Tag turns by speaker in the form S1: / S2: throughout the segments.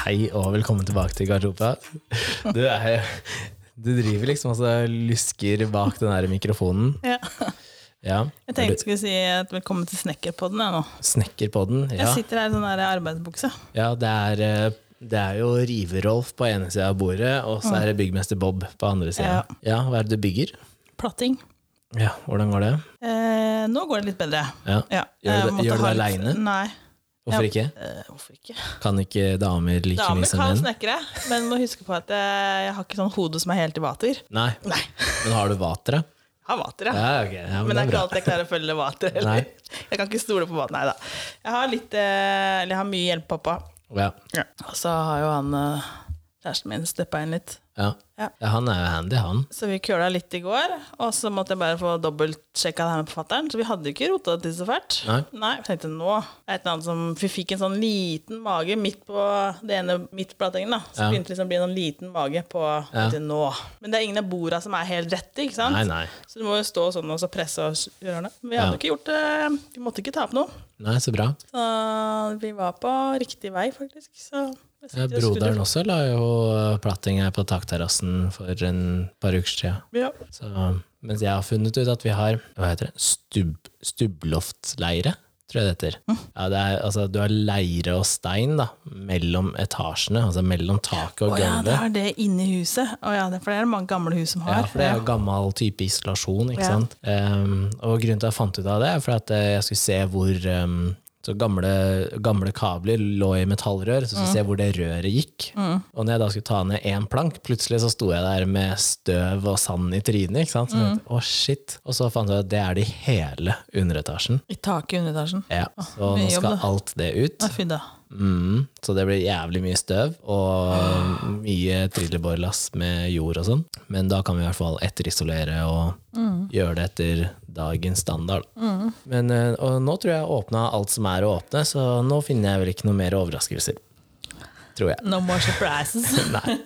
S1: Hei og velkommen tilbake til Garderoba. Du, er, du driver liksom og lusker bak den her mikrofonen.
S2: Ja.
S1: Ja.
S2: Jeg tenkte jeg skulle si et velkommen til Snekkerpodden. Jeg, nå.
S1: Snekker på den.
S2: jeg
S1: Ja,
S2: sitter her i sånn der arbeidsbukse.
S1: ja det, er, eh, det er jo Rive-Rolf på ene sida av bordet, og
S2: Mm.
S1: så er det byggmester Bob på andre sida. Ja, hva er det du bygger?
S2: Platting.
S1: Ja, Hvordan går det?
S2: Eh, nå går det litt bedre.
S1: Ja.
S2: Ja.
S1: Gjør du det-
S2: jeg måtte
S1: gjør du
S2: ha
S1: det
S2: litt-
S1: alene?
S2: Nei.
S1: Hvorfor
S2: Ja.
S1: ikke?
S2: Eh, hvorfor ikke?
S1: Kan ikke damer like mye
S2: Damer
S1: som
S2: kan
S1: menn?
S2: snekre, men må huske på at eh, jeg har ikke sånn hode som er helt i vater.
S1: Nei.
S2: Nei.
S1: Men har du vater, da?
S2: Jeg har vater, ja.
S1: Ja, ok. Ja,
S2: Men det er ikke
S1: bra.
S2: alltid jeg klarer å følge vater.
S1: Nei.
S2: Eller. Jeg kan ikke stole på vater. Nei da. Jeg har, litt, eh, eller jeg har mye hjelp, pappa.
S1: Ja.
S2: Og så har jo han eh, kjæresten min steppa inn litt.
S1: Ja.
S2: Ja.
S1: ja, han er jo handy, han.
S2: Så vi køla litt i går, og så måtte jeg bare få dobbeltsjekka det her med forfatteren. Så vi hadde ikke rota det til så fælt.
S1: Nei.
S2: jeg tenkte nå det er et eller annet som, Vi fikk en sånn liten mage midt på det ene midt på plattingen. da. Så
S1: Ja.
S2: begynte det liksom å bli en sånn liten mage på
S1: Ja.
S2: til nå. Men det er ingen av borda som er helt rette, ikke sant?
S1: Nei, nei.
S2: Så du må jo stå sånn og så presse og gjøre det. Men vi
S1: Ja.
S2: hadde ikke gjort det. Vi måtte ikke ta opp noe.
S1: Nei, så bra.
S2: Så vi var på riktig vei, faktisk. Så jeg
S1: Ja,
S2: sitter og
S1: Eh, Broderen også la jo platting her på takterrassen for en par uker siden.
S2: skrur- Ja.
S1: Så, mens jeg har funnet ut at vi har hva heter det? Stubb, stubbloftleire, tror jeg det heter.
S2: Hm.
S1: Ja, det er, altså, du har leire og stein da, mellom etasjene, altså mellom taket og
S2: Å ja, det
S1: gulvet.
S2: er det inni huset. Å ja, det- for det er det mange gamle hus som
S1: Ja,
S2: har.
S1: for det er jo gammel type isolasjon, ikke
S2: Ja.
S1: sant? Ehm, og grunnen til at jeg fant ut av det, er for at eh, jeg skulle se hvor ehm, så gamle, gamle kabler lå i metallrør, så skulle
S2: Mm.
S1: jeg se hvor det røret gikk. Og når jeg da skulle ta ned én plank, plutselig så sto jeg der med støv og sand i trynet. ikke sant? Så jeg
S2: Mm.
S1: tenkte, å shit. Og så fant jeg ut at det er det i hele underetasjen.
S2: I taket i underetasjen.
S1: Ja, Så
S2: mye
S1: nå
S2: jobb,
S1: skal
S2: da.
S1: alt det ut.
S2: Ja, Fy da.
S1: Mm, så det blir jævlig mye støv og mye trillebårlass med jord og sånn. Men da kan vi i hvert fall etterisolere og gjøre det etter dagens standard. Men, eh, og nå tror jeg åpna alt som er å åpne, så nå finner jeg vel ikke noe mer overraskelser. Tror jeg.
S2: No more surprises.
S1: Nei.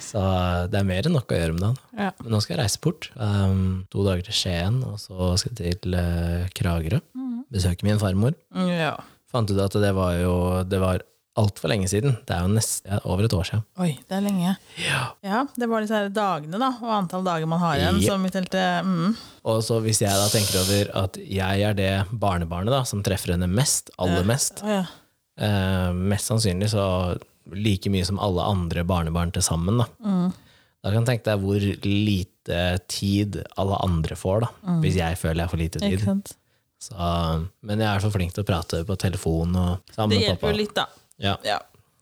S1: Så eh, det er mer enn nok å gjøre med dagen.
S2: ja.
S1: Men nå skal jeg reise bort. Um, to dager til Skien, og så skal jeg til eh, Kragerø. Besøke min farmor
S2: Mm, ja.
S1: fant ut at det var jo Det var altfor lenge siden. Det er jo nesten ja, over et år siden.
S2: Oi, det er lenge. Ja, det var disse her dagene, da, og antall dager man har igjen,
S1: Yep.
S2: som vi telte mm.
S1: Og så hvis jeg da tenker over at jeg er det barnebarnet da, som treffer henne mest, aller mest,
S2: Å ja.
S1: eh, mest sannsynlig så like mye som alle andre barnebarn til sammen, da.
S2: Mm.
S1: Da kan du tenke deg hvor lite tid alle andre får, da. Hvis jeg føler jeg får lite
S2: Mm. Ikke
S1: tid.
S2: sant.
S1: Så, men jeg er så flink til å prate på telefon og sammen
S2: Det
S1: med
S2: hjelper
S1: pappa.
S2: jo litt, da.
S1: Ja.
S2: Ja.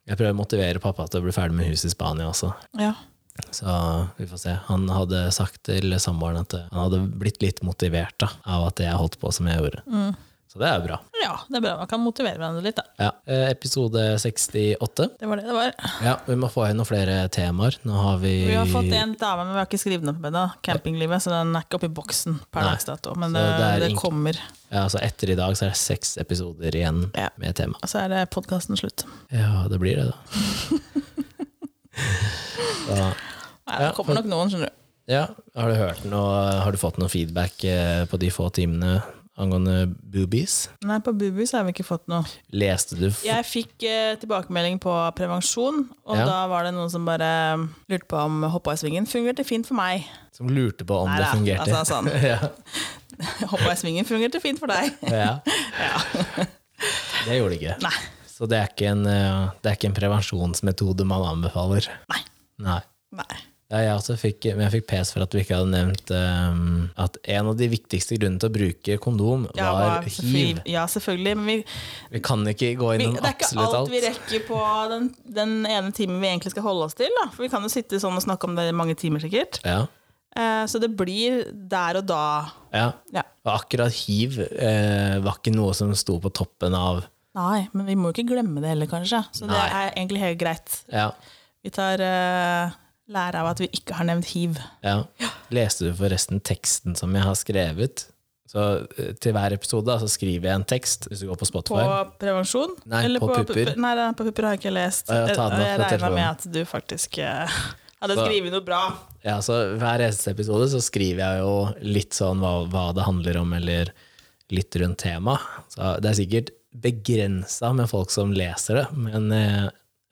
S1: Jeg prøver å motivere pappa til å bli ferdig med huset i Spania også.
S2: ja.
S1: Så vi får se. Han hadde sagt til samboeren at eh, han hadde blitt litt motivert da, av at jeg holdt på som jeg gjorde.
S2: Mm.
S1: Så det er jo bra.
S2: Ja, det er bra. Man kan motivere hverandre litt, da.
S1: Ja. Eh, Episode 68.
S2: Det var det det var.
S1: Ja, vi må få inn noen flere temaer. Nå har vi
S2: Vi har fått en dame, men vi har ikke skrevet den opp ennå. Campinglivet, så den er ikke oppi boksen per
S1: Nei.
S2: dags dato. Men
S1: Så
S2: det, det,
S1: det er ingen-
S2: kommer.
S1: ja, altså Etter i dag så er det seks episoder igjen
S2: Ja.
S1: med tema.
S2: Og så er det podkasten slutt.
S1: Ja, det blir det, da. så,
S2: Nei, det kommer nok noen, skjønner du.
S1: ja, har du hørt noe Har du fått noe feedback eh, på de få timene angående boobies?
S2: Nei, på Bubu så har vi ikke fått noe.
S1: Leste du f
S2: Jeg fikk eh, tilbakemelding på prevensjon, og
S1: Ja.
S2: da var det noen som bare eh, lurte på om hoppa i svingen fungerte fint for meg.
S1: som lurte på om
S2: Nei
S1: det
S2: da,
S1: fungerte?
S2: altså sånn.
S1: ja.
S2: Hoppa i svingen fungerte fint for deg.
S1: Ja. Det gjorde det ikke.
S2: Nei.
S1: Så det er ikke, en, eh, det er ikke en prevensjonsmetode man anbefaler.
S2: Nei.
S1: Nei.
S2: Nei.
S1: Ja, jeg også fikk, men jeg fikk pes for at du ikke hadde nevnt eh, at en av de viktigste grunnene til å bruke kondom
S2: Ja,
S1: var
S2: hva-
S1: hiv.
S2: Ja, selvfølgelig. Men vi,
S1: Vi kan ikke gå
S2: vi,
S1: innom
S2: det er ikke
S1: absolutt
S2: alt
S1: alt.
S2: vi rekker på den, den ene timen vi egentlig skal holde oss til. Da. For vi kan jo sitte sånn og snakke om det i mange timer, sikkert.
S1: Ja.
S2: Eh, så det blir der og da.
S1: ja.
S2: Ja.
S1: Og akkurat hiv eh, var ikke noe som sto på toppen av
S2: Nei, men vi må jo ikke glemme det heller, kanskje. Så det
S1: Nei.
S2: er egentlig helt greit.
S1: ja,
S2: Vi tar eh, lære av at vi ikke har nevnt hiv.
S1: ja. Leste du forresten teksten som jeg har skrevet? Så eh, til hver episode da, så skriver jeg en tekst, hvis du går på
S2: På
S1: Spotify.
S2: prevensjon?
S1: Nei, på pupper.
S2: Nei, det er på pupper har jeg ikke lest.
S1: Å, ja, ta den opp
S2: jeg
S1: på
S2: regna
S1: telefonen.
S2: med at du faktisk eh, hadde
S1: Så-
S2: skrevet noe bra.
S1: Ja, så Hver eneste episode så skriver jeg jo litt sånn hva, hva det handler om, eller litt rundt temaet. Så Det er sikkert begrensa med folk som leser det, men eh,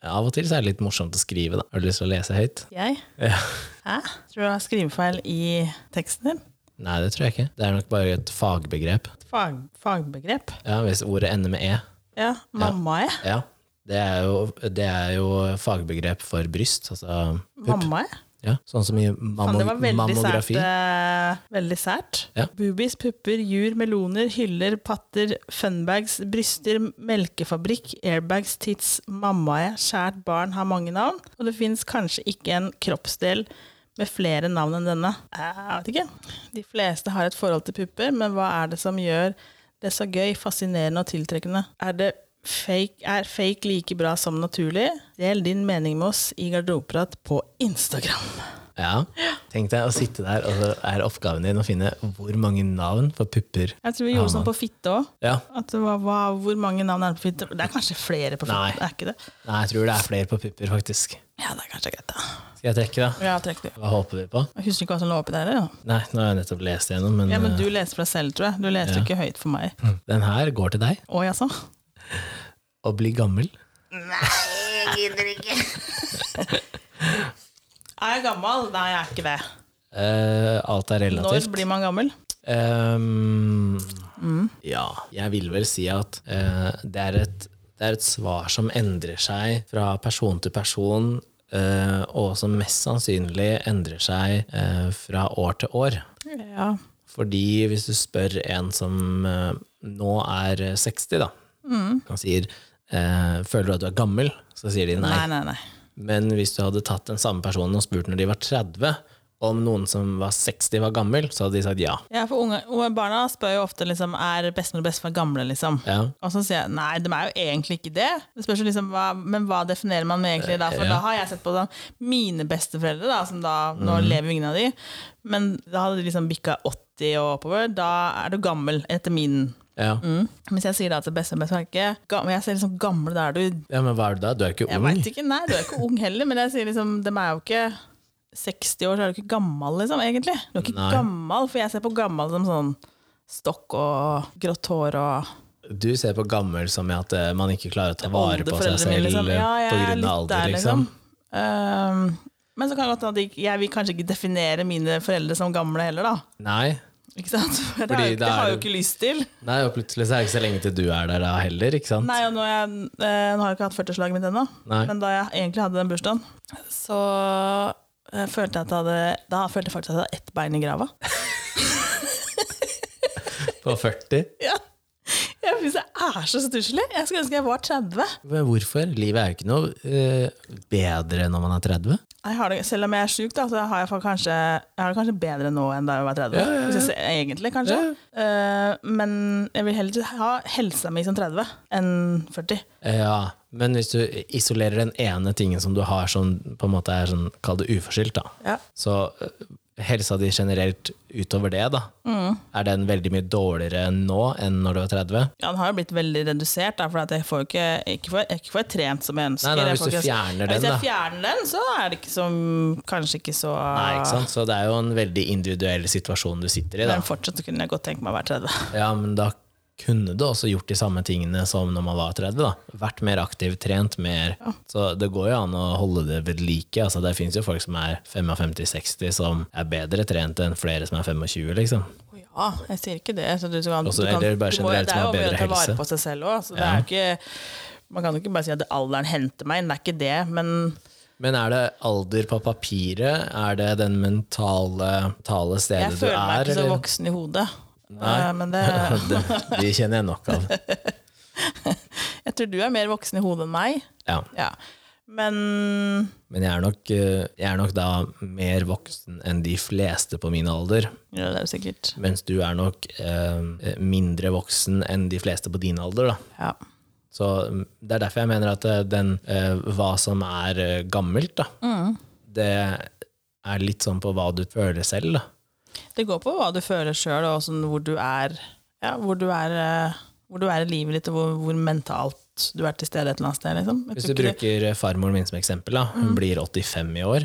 S1: Av og til så er det litt morsomt å skrive, da. Har du lyst til å lese høyt?
S2: Jeg?
S1: Ja.
S2: Hæ? Tror du det er skrivefeil i teksten din?
S1: Nei, det tror jeg ikke. Det er nok bare et fagbegrep.
S2: Fag, fagbegrep?
S1: Ja, Hvis ordet ender med e.
S2: Ja. Mammae?
S1: Ja. Det er jo, det er jo fagbegrep for bryst, altså pupp.
S2: Mammae?
S1: Ja. Sånn som i
S2: Faen,
S1: mammo
S2: det var veldig sært.
S1: mammografi.
S2: eh, veldig sært.
S1: Ja.
S2: Boobies, pupper, jur, meloner, hyller, patter, funbags, bryster, melkefabrikk, airbags, tits, mammae, skjært barn har mange navn. Og det fins kanskje ikke en kroppsdel med flere navn enn denne. Eh, Jeg vet ikke. De fleste har et forhold til pupper, men hva er det som gjør det så gøy, fascinerende og tiltrekkende? Er det Fake, er fake like bra som naturlig? Del din mening med oss i Garderobeprat på Instagram.
S1: Ja. Tenk deg å sitte der, og så er oppgaven din å finne hvor mange navn for pupper.
S2: Jeg tror vi gjorde sånn på fitte òg.
S1: Ja.
S2: Hvor mange navn er det på fitte? Det er kanskje flere på
S1: Nei.
S2: fitte? Er ikke det?
S1: Nei, jeg tror det er flere på pupper, faktisk.
S2: Ja, det er kanskje greit, da.
S1: Skal jeg trekke, da?
S2: Ja, trekk det.
S1: Hva håper vi på?
S2: Jeg husker ikke hva som lå oppi der. eller?
S1: Nei, nå har jeg nettopp lest igjennom, men,
S2: Ja, men Mm. du leste fra selv, tror jeg. Du leste ikke høyt for meg.
S1: eh, den her går til deg.
S2: Å, jaså?
S1: Å bli gammel.
S2: Er jeg gammel? Nei, jeg er ikke det.
S1: Eh, alt er
S2: Når
S1: relativt.
S2: blir man gammel?
S1: Ehm,
S2: Mm.
S1: Ja, jeg vil vel si at eh, det, er et, det er et svar som endrer seg fra person til person, eh, og som mest sannsynlig endrer seg eh, fra år til år.
S2: Ja.
S1: Fordi hvis du spør en som eh, nå er 60, da,
S2: Mm.
S1: han sier eh, 'føler du at du er gammel', så sier de nei.
S2: Nei, nei, nei.
S1: Men hvis du hadde tatt den samme personen og spurt når de var 30, om noen som var 60 var gammel, så hadde de sagt ja.
S2: Ja, for unge, unge barna spør jo ofte liksom, er bestemor og bestefar gamle, liksom.
S1: ja.
S2: Og så sier jeg nei, de er jo egentlig ikke det. Det spørs jo liksom hva, Men hva definerer man med egentlig da? For da har jeg sett på da, mine besteforeldre, da, som da Nå lever jo ingen av de, men da hadde de liksom bikka 80 og oppover. Da er du gammel, etter min.
S1: Ja.
S2: Mm. Hvis jeg sier da til bestemor og bestefar Men jeg ser liksom gamle, da er du
S1: ja, men hva er du da? Du er ikke
S2: Jeg
S1: ung.
S2: vet ikke, nei, du er ikke ung heller, men jeg sier liksom De er jo ikke 60 år, så er du ikke gammel, liksom, egentlig. Du er ikke
S1: Nei.
S2: gammel, for jeg ser på gammel som sånn stokk og grått hår og
S1: Du ser på gammel som i at eh, man ikke klarer å ta vare på seg
S2: Oldeforeldrene
S1: selv
S2: mine, liksom.
S1: eh,
S2: Ja, jeg
S1: på
S2: er
S1: grunn
S2: litt
S1: av alder,
S2: der,
S1: liksom.
S2: Ehm, men så kan det godt hende at jeg- jeg vil kanskje ikke definere mine foreldre som gamle heller, da.
S1: Nei.
S2: Ikke sant? For det,
S1: Fordi
S2: har jeg,
S1: da
S2: det har
S1: er
S2: jeg jo
S1: det-
S2: ikke lyst til.
S1: Nei, og plutselig så er det ikke så lenge til du er der da heller, ikke sant?
S2: Nei, og nå, er jeg, eh, nå har jeg ikke hatt 40-årslaget mitt ennå,
S1: Nei.
S2: men da jeg egentlig hadde den bursdagen, så eh, følte jeg at jeg hadde, da følte jeg faktisk at jeg hadde ett bein i grava.
S1: På 40.
S2: ja. Jeg synes det er så stusslig. Jeg skulle ønske jeg var 30.
S1: Men hvorfor? Livet er jo ikke noe eh, bedre når man er 30.
S2: Jeg har det, selv om jeg er sjuk, da, så har jeg, fa- kanskje, jeg har det kanskje bedre nå enn da jeg var 30. Hvis jeg ser, egentlig, kanskje. Eh, men jeg vil heller ha helsa mi som 30 enn 40.
S1: Eh, Ja, men hvis du isolerer den ene tingen som du har som på en måte er sånn, kall det uforskyldt da,
S2: Ja.
S1: så eh, helsa di generelt utover det da, er den veldig mye dårligere nå enn når du var 30?
S2: Ja, den har jo blitt veldig redusert, da, for at jeg får jo ikke, ikke, får, jeg ikke får jeg trent som jeg ønsker.
S1: Nei, nei,
S2: Jeg
S1: hvis
S2: får
S1: du
S2: ikke-
S1: fjerner
S2: Ja,
S1: den,
S2: Hvis jeg fjerner den, så er det ikke som, kanskje ikke så
S1: Nei, ikke sant? Så det er jo en veldig individuell situasjon du sitter i da.
S2: Men fortsatt kunne jeg godt tenke meg å være 30.
S1: Ja, men da kunne du også gjort de samme tingene som når man var 30 da. Vært mer aktiv, trent mer. Så det går jo an å holde det ved like. Altså, det finnes jo folk som er 55-60 som er bedre trent enn flere som er 25 liksom.
S2: Å Ja, jeg sier ikke det. Så du, du kan,
S1: Også
S2: du kan,
S1: er det bare
S2: du må-
S1: generelt
S2: det er jo
S1: som har
S2: mye
S1: bedre
S2: å ta vare
S1: helse.
S2: på seg selv òg. Så det er jo ikke Man kan jo ikke bare si at alderen henter meg inn, det er ikke det. Men
S1: Men er det alder på papiret? Er det den mentale, mentale stedet
S2: jeg
S1: du
S2: føler meg
S1: er?
S2: ikke så
S1: eller?
S2: voksen i hodet.
S1: Nei.
S2: Eh, Men det,
S1: Det- De kjenner jeg nok av.
S2: jeg tror du er mer voksen i hodet enn meg.
S1: Ja.
S2: Ja. Men
S1: Men jeg er, nok, eh, jeg er nok da mer voksen enn de fleste på min alder.
S2: ja, det er jo sikkert.
S1: Mens du er nok eh, mindre voksen enn de fleste på din alder. Da.
S2: Ja.
S1: Så mm, Det er derfor jeg mener at eh, den, eh, hva som er eh, gammelt, da, det er litt sånn på hva du føler selv. Da.
S2: Det går på hva du føler sjøl, og sånn hvor du er ja, hvor, du er, eh, hvor du er i livet ditt, og hvor, hvor mentalt du er til stede et eller annet sted. Liksom. Jeg
S1: Hvis
S2: tror
S1: du
S2: ikke det- Mm.
S1: bruker farmoren min som eksempel, da. hun blir 85 i år.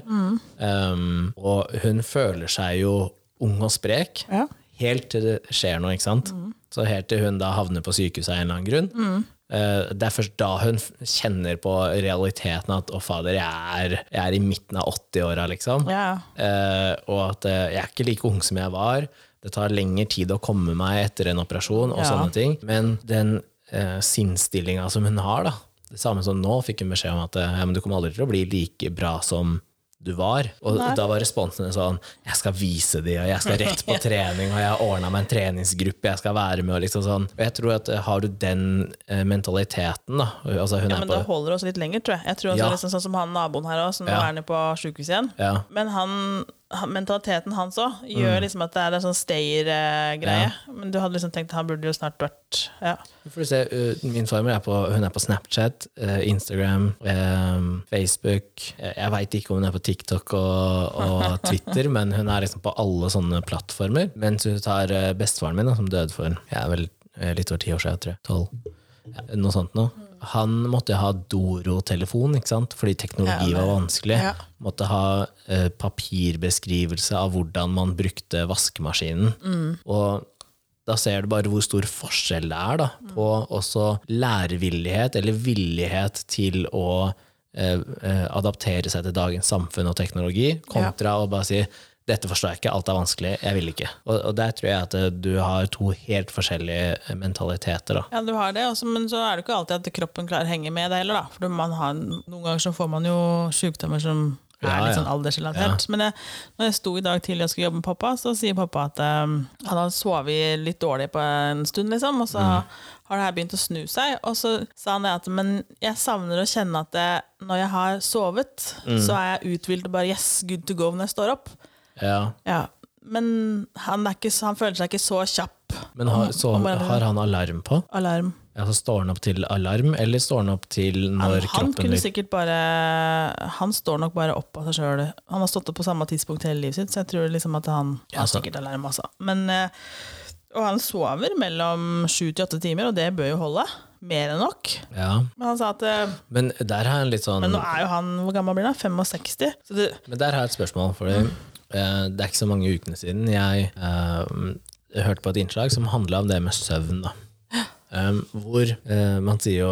S1: Um, og hun føler seg jo ung og sprek,
S2: Ja. Mm.
S1: helt til det skjer noe. ikke sant? Så helt til hun da havner på sykehuset av en eller annen grunn. Eh, Det er først da hun f- kjenner på realiteten at 'å, fader, jeg er, jeg er i midten av 80-åra', liksom.
S2: Ja.
S1: Eh, og at eh, jeg er ikke like ung som jeg var. Det tar lengre tid å komme meg etter en operasjon og
S2: Ja.
S1: sånne ting. Men den eh, sinnsstillinga som hun har, da. Det samme som nå fikk hun beskjed om at eh, ja, men du kommer aldri til å bli like bra som du var. Og
S2: Nei.
S1: da var responsen hennes sånn Jeg skal vise de, og jeg skal rett på trening, og jeg har ordna meg en treningsgruppe jeg skal være med, og liksom sånn. Og jeg tror at eh, har du den eh, mentaliteten, da Altså hun
S2: Ja, men
S1: er på
S2: det holder oss litt lenger, tror jeg. Jeg tror også
S1: Ja.
S2: liksom sånn som han naboen her også, som nå
S1: Ja.
S2: er nede på sjukehuset igjen.
S1: ja. Mm.
S2: Men han, han, mentaliteten hans òg gjør liksom at det er en sånn stayer-greie. Men du hadde liksom tenkt at han burde jo snart vært ja.
S1: Vi får se, uh, Min farmor er på, hun er på Snapchat, eh, Instagram, eh, Facebook. Eh, Jeg veit ikke om hun er på TikTok og, og Twitter, men hun er liksom på alle sånne plattformer. Mens hun tar eh, bestefaren min, da, som døde for jeg er vel eh, litt over ti år siden, tror jeg. Tolv. Ja, noe sånt nå. Han måtte ha Doro-telefon, ikke sant? fordi teknologi var vanskelig.
S2: Ja.
S1: Måtte ha eh, papirbeskrivelse av hvordan man brukte vaskemaskinen. Og da ser du bare hvor stor forskjell det er da, på også lærevillighet eller villighet til å eh, eh, adaptere seg til dagens samfunn og teknologi, kontra å bare si dette forstår jeg ikke, alt er vanskelig, jeg vil ikke. Og, og der tror jeg at eh, du har to helt forskjellige eh, mentaliteter. da.
S2: ja, du har det, også, men så er det ikke alltid at kroppen klarer å henge med det heller, da. For man har, noen ganger så får man jo sykdommer som er
S1: Ja,
S2: litt
S1: ja.
S2: sånn aldersrelatert. Men jeg, når jeg sto i dag tidlig og skulle jobbe med pappa, så sier pappa at um, han har sovet litt dårlig på en stund, liksom, og så
S1: Mm.
S2: har det her begynt å snu seg. Og så sa han det at men jeg savner å kjenne at det, når jeg har sovet,
S1: Mm.
S2: så er jeg uthvilt og bare yes, good to go når jeg står opp.
S1: Ja.
S2: Ja. Men han, er ikke, så- han føler seg ikke så kjapp.
S1: Men har, så,
S2: Om- om-
S1: har han alarm på?
S2: Alarm.
S1: Altså Står han opp til alarm, eller står han opp til når
S2: han, han
S1: kroppen
S2: kunne
S1: lyder?
S2: sikkert bare Han står nok bare opp av seg sjøl. Han har stått opp på samme tidspunkt hele livet sitt, så jeg tror liksom at han
S1: Ja,
S2: har
S1: sant.
S2: sikkert alarm, altså. Men, eh, og han sover mellom sju til åtte timer, og det bør jo holde. Mer enn nok.
S1: Ja.
S2: Men han sa at eh,
S1: Men der har han litt sånn
S2: Men nå er jo han Hvor gammel blir han? 65? Så det,
S1: Men der har jeg et spørsmål, for det,
S2: Mm.
S1: det er ikke så mange ukene siden jeg eh, hørte på et innslag som handla om det med søvn. Da. Um, hvor eh, man sier jo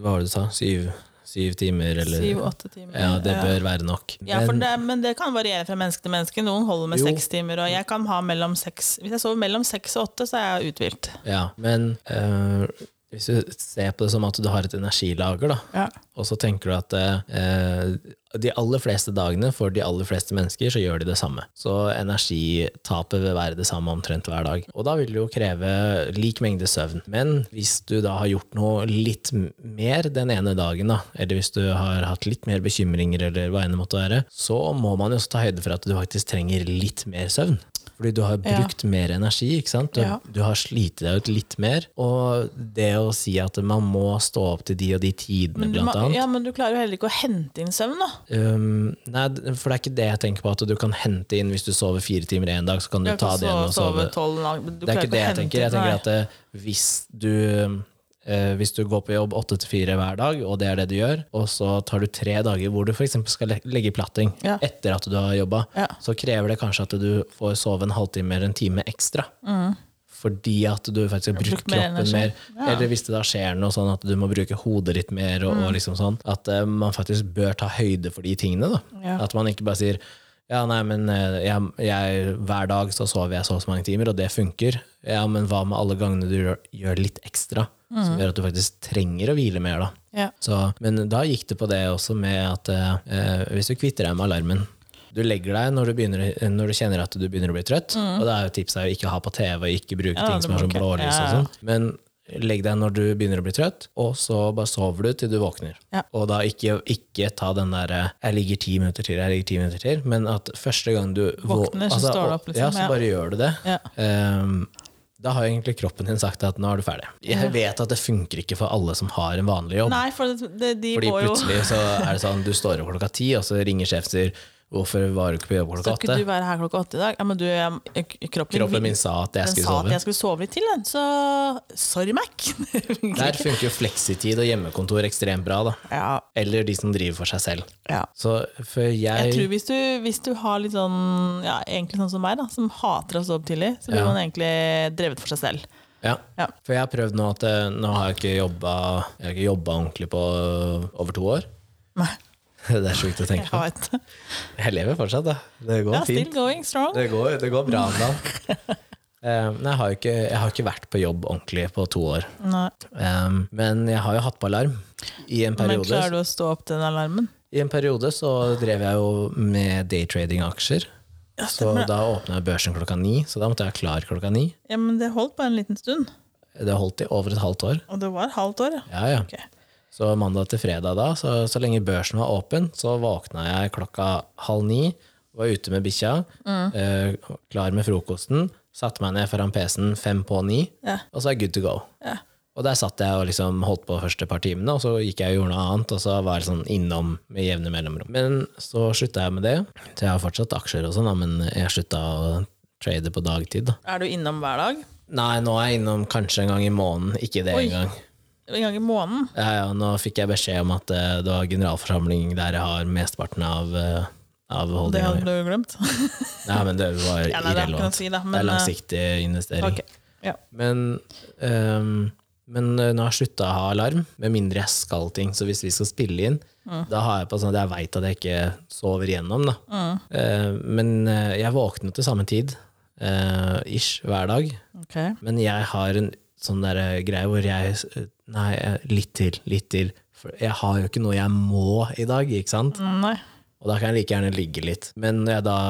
S1: Hva var det du sa? Syv, syv timer, eller
S2: syv-åtte timer.
S1: Ja, det bør være nok.
S2: Ja, for det, men det kan variere fra menneske til menneske. Noen holder med
S1: Jo.
S2: seks timer. Og jeg kan ha mellom seks Hvis jeg sover mellom seks og åtte, så er jeg uthvilt.
S1: ja, men eh, hvis du ser på det som at du har et energilager, da,
S2: Ja.
S1: og så tenker du at eh, de aller fleste dagene for de aller fleste mennesker så gjør de det samme. Så energitapet vil være det samme omtrent hver dag. Og da vil det jo kreve lik mengde søvn. Men hvis du da har gjort noe litt m- mer den ene dagen, da, eller hvis du har hatt litt mer bekymringer eller hva enn det måtte være, så må man jo også ta høyde for at du faktisk trenger litt mer søvn. Fordi du har
S2: Ja.
S1: brukt mer energi, ikke sant? Du,
S2: Ja.
S1: du har slitet deg ut litt mer. Og det å si at man må stå opp til de og de tidene,
S2: Men du,
S1: blant
S2: ma-
S1: annet.
S2: ja, men du klarer jo heller ikke å hente inn søvn, da.
S1: Um, nei, d- for det er ikke det jeg tenker på, at du kan hente inn hvis du sover fire timer en dag, så kan du ta det igjen og sove. Det er ikke det jeg tenker. Jeg tenker at eh, hvis du eh, hvis du går på jobb åtte til fire hver dag, og det er det du gjør, og så tar du tre dager hvor du f.eks. skal le- legge platting
S2: Ja.
S1: etter at du har jobba,
S2: Ja.
S1: så krever det kanskje at du får sove en halvtime eller en time ekstra. Fordi at du faktisk Mm. har brukt
S2: brukt mer
S1: kroppen
S2: energi.
S1: mer. Eller hvis det da skjer noe sånn at du må bruke hodet litt mer, og, og liksom sånn, at eh, man faktisk bør ta høyde for de tingene. da.
S2: Ja.
S1: At man ikke bare sier ja, nei, men eh, jeg, jeg, hver dag så sover jeg så og så mange timer, og det funker. Ja, men hva med alle gangene du gjør, gjør litt ekstra, som gjør at du faktisk trenger å hvile mer, da.
S2: Ja.
S1: Så, men da gikk det på det også med at eh, hvis du kvitter deg med alarmen Du legger deg når du, begynner, når du kjenner at du begynner å bli trøtt, og da er jo tipset å ikke ha på TV, ikke bruke
S2: Mm. Ja,
S1: ting
S2: det
S1: som
S2: må
S1: har sånn
S2: ikke.
S1: blålys og
S2: Ja, ja.
S1: sånn. Men legg deg når du begynner å bli trøtt, og så bare sover du til du våkner.
S2: Ja.
S1: Og da ikke, ikke ta den derre 'jeg ligger ti minutter til', 'jeg ligger ti minutter til', men at første gang du vå- altså,
S2: Våkner, så står du opp, liksom,
S1: Ja, så
S2: ja.
S1: bare gjør du det.
S2: Ja.
S1: Ehm, da har egentlig kroppen din sagt at 'nå er du ferdig'. Jeg vet at det funker ikke for alle som har en vanlig jobb.
S2: Nei, for det, det, de
S1: Fordi
S2: må jo
S1: plutselig så er det sånn, du står opp klokka ti, og så ringer sjefen og sier 'hvorfor var du ikke på jobb klokka
S2: Skal ikke du
S1: åtte'?
S2: være her klokka åtte i dag? Ja, men du, jeg, jeg- kroppen,
S1: Kroppen min sa at jeg
S2: den
S1: skulle
S2: sa at
S1: sove.
S2: jeg skulle sove litt til, den, så sorry, Mac.
S1: Der funker jo fleksitid og hjemmekontor ekstremt bra, da.
S2: ja,
S1: Eller de som driver for seg selv.
S2: ja.
S1: Så for jeg,
S2: Jeg tror hvis du, hvis du har litt sånn, ja, egentlig sånn som meg, da, som hater å stå opp tidlig, så blir
S1: Ja.
S2: man egentlig drevet for seg selv.
S1: Ja.
S2: Ja.
S1: For jeg har prøvd nå at eh, nå har jeg ikke jobba, jeg har ikke jobba ordentlig på eh, over to år.
S2: Nei,
S1: Det er sjukt å
S2: jeg
S1: tenke på.
S2: vet det.
S1: Jeg lever fortsatt, da. Det går
S2: Ja, still
S1: fint.
S2: going strong.
S1: Det går, det går bra om dagen. Eh, nei, jeg har, jo ikke, jeg har ikke vært på jobb ordentlig på to år.
S2: Nei.
S1: Eh, men jeg har jo hatt på alarm i en
S2: Men
S1: periode.
S2: klarer du å stå opp til den alarmen?
S1: I en periode så drev jeg jo med daytrading-aksjer. Så
S2: stemmer det.
S1: da åpna børsen klokka ni, så da måtte jeg være klar klokka ni.
S2: Ja, men det holdt bare en liten stund.
S1: Det holdt i over et halvt år.
S2: Og det var halvt år, ja.
S1: Ja, ja.
S2: Ok.
S1: Så mandag til fredag da, så, så lenge børsen var åpen, så våkna jeg klokka halv ni, var ute med bikkja,
S2: Mm.
S1: eh, klar med frokosten, satte meg ned foran PC-en fem på ni,
S2: Ja.
S1: og så er good to go.
S2: Ja.
S1: Og der satt jeg og liksom holdt på første par timene, og så gikk jeg og gjorde noe annet, og så var jeg sånn innom med jevne mellomrom. Men så slutta jeg med det. Så jeg har fortsatt aksjer og sånn, da, men jeg slutta å trade på dagtid. da.
S2: Er du innom hver dag?
S1: Nei, nå er jeg innom kanskje en gang i måneden, ikke det
S2: Oi.
S1: engang.
S2: En gang i måneden?
S1: Ja, ja, nå fikk jeg beskjed om at eh, det var generalforsamling der jeg har mesteparten av, eh, av
S2: Det hadde
S1: holdninga.
S2: du jo glemt.
S1: Nei, men det var
S2: Ja, nei, det er ikke noe å
S1: irrelevant.
S2: si, da.
S1: Det
S2: Men, eh,
S1: er langsiktig investering.
S2: Ok, ja.
S1: Men, ehm, men eh, nå har jeg slutta å ha alarm, med mindre jeg skal ting. Så hvis vi skal spille inn,
S2: Mm.
S1: da har jeg på sånn at jeg veit at jeg ikke sover igjennom. Da.
S2: Mm.
S1: Eh, men eh, jeg våkner til samme tid, eh, ish, hver dag.
S2: ok.
S1: Men jeg har en sånn der eh, greie hvor jeg eh, Nei, eh, litt til, litt til. For jeg har jo ikke noe jeg må i dag, ikke sant?
S2: Mm, Nei.
S1: Og da kan jeg like gjerne ligge litt. Men når jeg da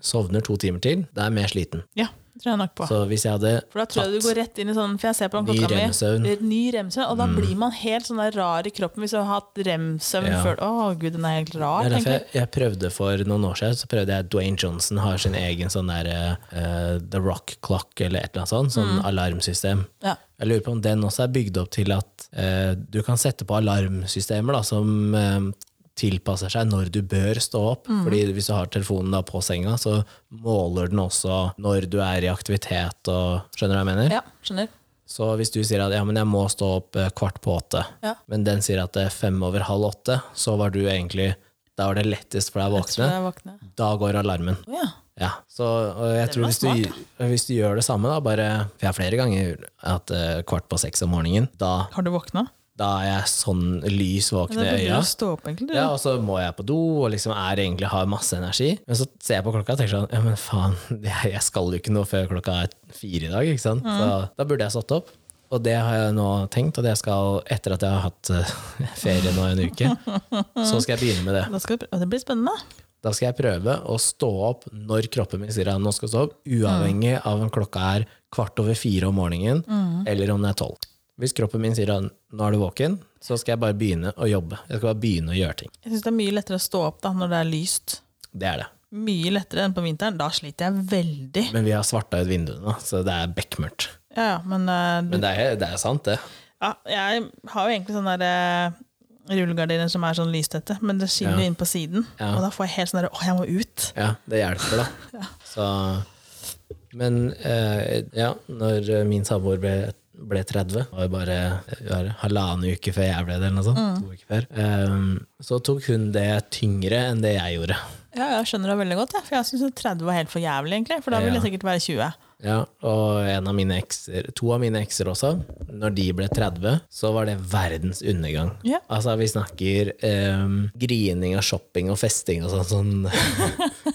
S1: sovner to timer til, da er jeg mer sliten.
S2: Ja, det tror jeg nok på.
S1: Så hvis jeg hadde
S2: For da tror jeg du går rett inn i sånn, for jeg ser på den
S1: Ny
S2: klokka mi.
S1: remsøvn. Mm.
S2: Ny remsøvn. Og da blir man helt sånn der rar i kroppen hvis du har hatt remsøvn
S1: Ja.
S2: før. Å gud, den er helt
S1: Det
S2: rar,
S1: er derfor
S2: tenker jeg.
S1: jeg, jeg prøvde for noen år siden, så prøvde jeg Dwayne Johnson har sin egen sånn der eh, The Rock Clock eller et eller annet sånt,
S2: Mm.
S1: sånn alarmsystem.
S2: Ja.
S1: Jeg lurer på om den også er bygd opp til at eh, du kan sette på alarmsystemer da, som eh, tilpasser seg når du bør stå opp.
S2: Mhm.
S1: Fordi hvis du har telefonen da på senga, så måler den også når du er i aktivitet og Skjønner du hva jeg mener?
S2: ja, skjønner.
S1: Så hvis du sier at ja, men jeg må stå opp eh, kvart på åtte,
S2: Ja.
S1: men den sier at det er fem over halv åtte, så var du egentlig Da var det lettest for deg å
S2: Tror
S1: våkne.
S2: jeg våkner.
S1: Da går alarmen.
S2: Å ja.
S1: Ja, så og jeg
S2: Den
S1: tror
S2: var
S1: hvis du, hvis du gjør det samme, da bare For jeg har flere ganger at eh, kvart på seks om morgenen, da,
S2: Har du våkna?
S1: da er jeg sånn lys
S2: Men
S1: våken
S2: da
S1: i
S2: burde
S1: øya.
S2: du stå opp, egentlig. du.
S1: Ja, og så må jeg på do og liksom er egentlig har masse energi. Men så ser jeg på klokka og tenker sånn Ja, men faen, jeg jeg skal jo ikke noe før klokka er fire i dag, ikke sant? Så da burde jeg stått opp. Og det har jeg nå tenkt, og det skal etter at jeg har hatt eh, ferie nå en uke, så skal jeg begynne med det.
S2: Da skal du, å, det blir spennende.
S1: Da skal jeg prøve å stå opp når kroppen min sier at nå skal jeg stå opp, uavhengig av om klokka er kvart over fire om morgenen, eller om det er tolv. Hvis kroppen min sier at nå er du våken, så skal jeg bare begynne å jobbe. Jeg skal bare begynne å gjøre ting.
S2: Jeg syns det er mye lettere å stå opp da når det er lyst.
S1: Det er det.
S2: Mye lettere enn på vinteren. Da sliter jeg veldig.
S1: Men vi har svarta ut vinduene, så det er bekmørkt.
S2: Ja, ja, men, eh, du-
S1: Men det er, det er sant, det.
S2: ja, jeg har jo egentlig sånne der, eh, rullegardiner som er sånn lystette, men det skinner jo inn på siden.
S1: Ja.
S2: Og da får jeg helt sånn derre Å, jeg må ut!
S1: Ja, det hjelper, da. Så, men eh, ja, når min samboer ble, ble 30, det var jo bare det var halvannen uke før jeg ble det, eller noe sånt, to uker før, eh, så tok hun det tyngre enn det jeg gjorde.
S2: Ja, jeg skjønner det veldig godt, jeg, for jeg syns 30 var helt for jævlig, egentlig. For da ville jeg sikkert være 20.
S1: Ja, og en av mine ekser, to av mine ekser også, når de ble 30, så var det verdens undergang.
S2: Ja.
S1: Altså, vi snakker ehm, grining og shopping og festing og sånn. sånn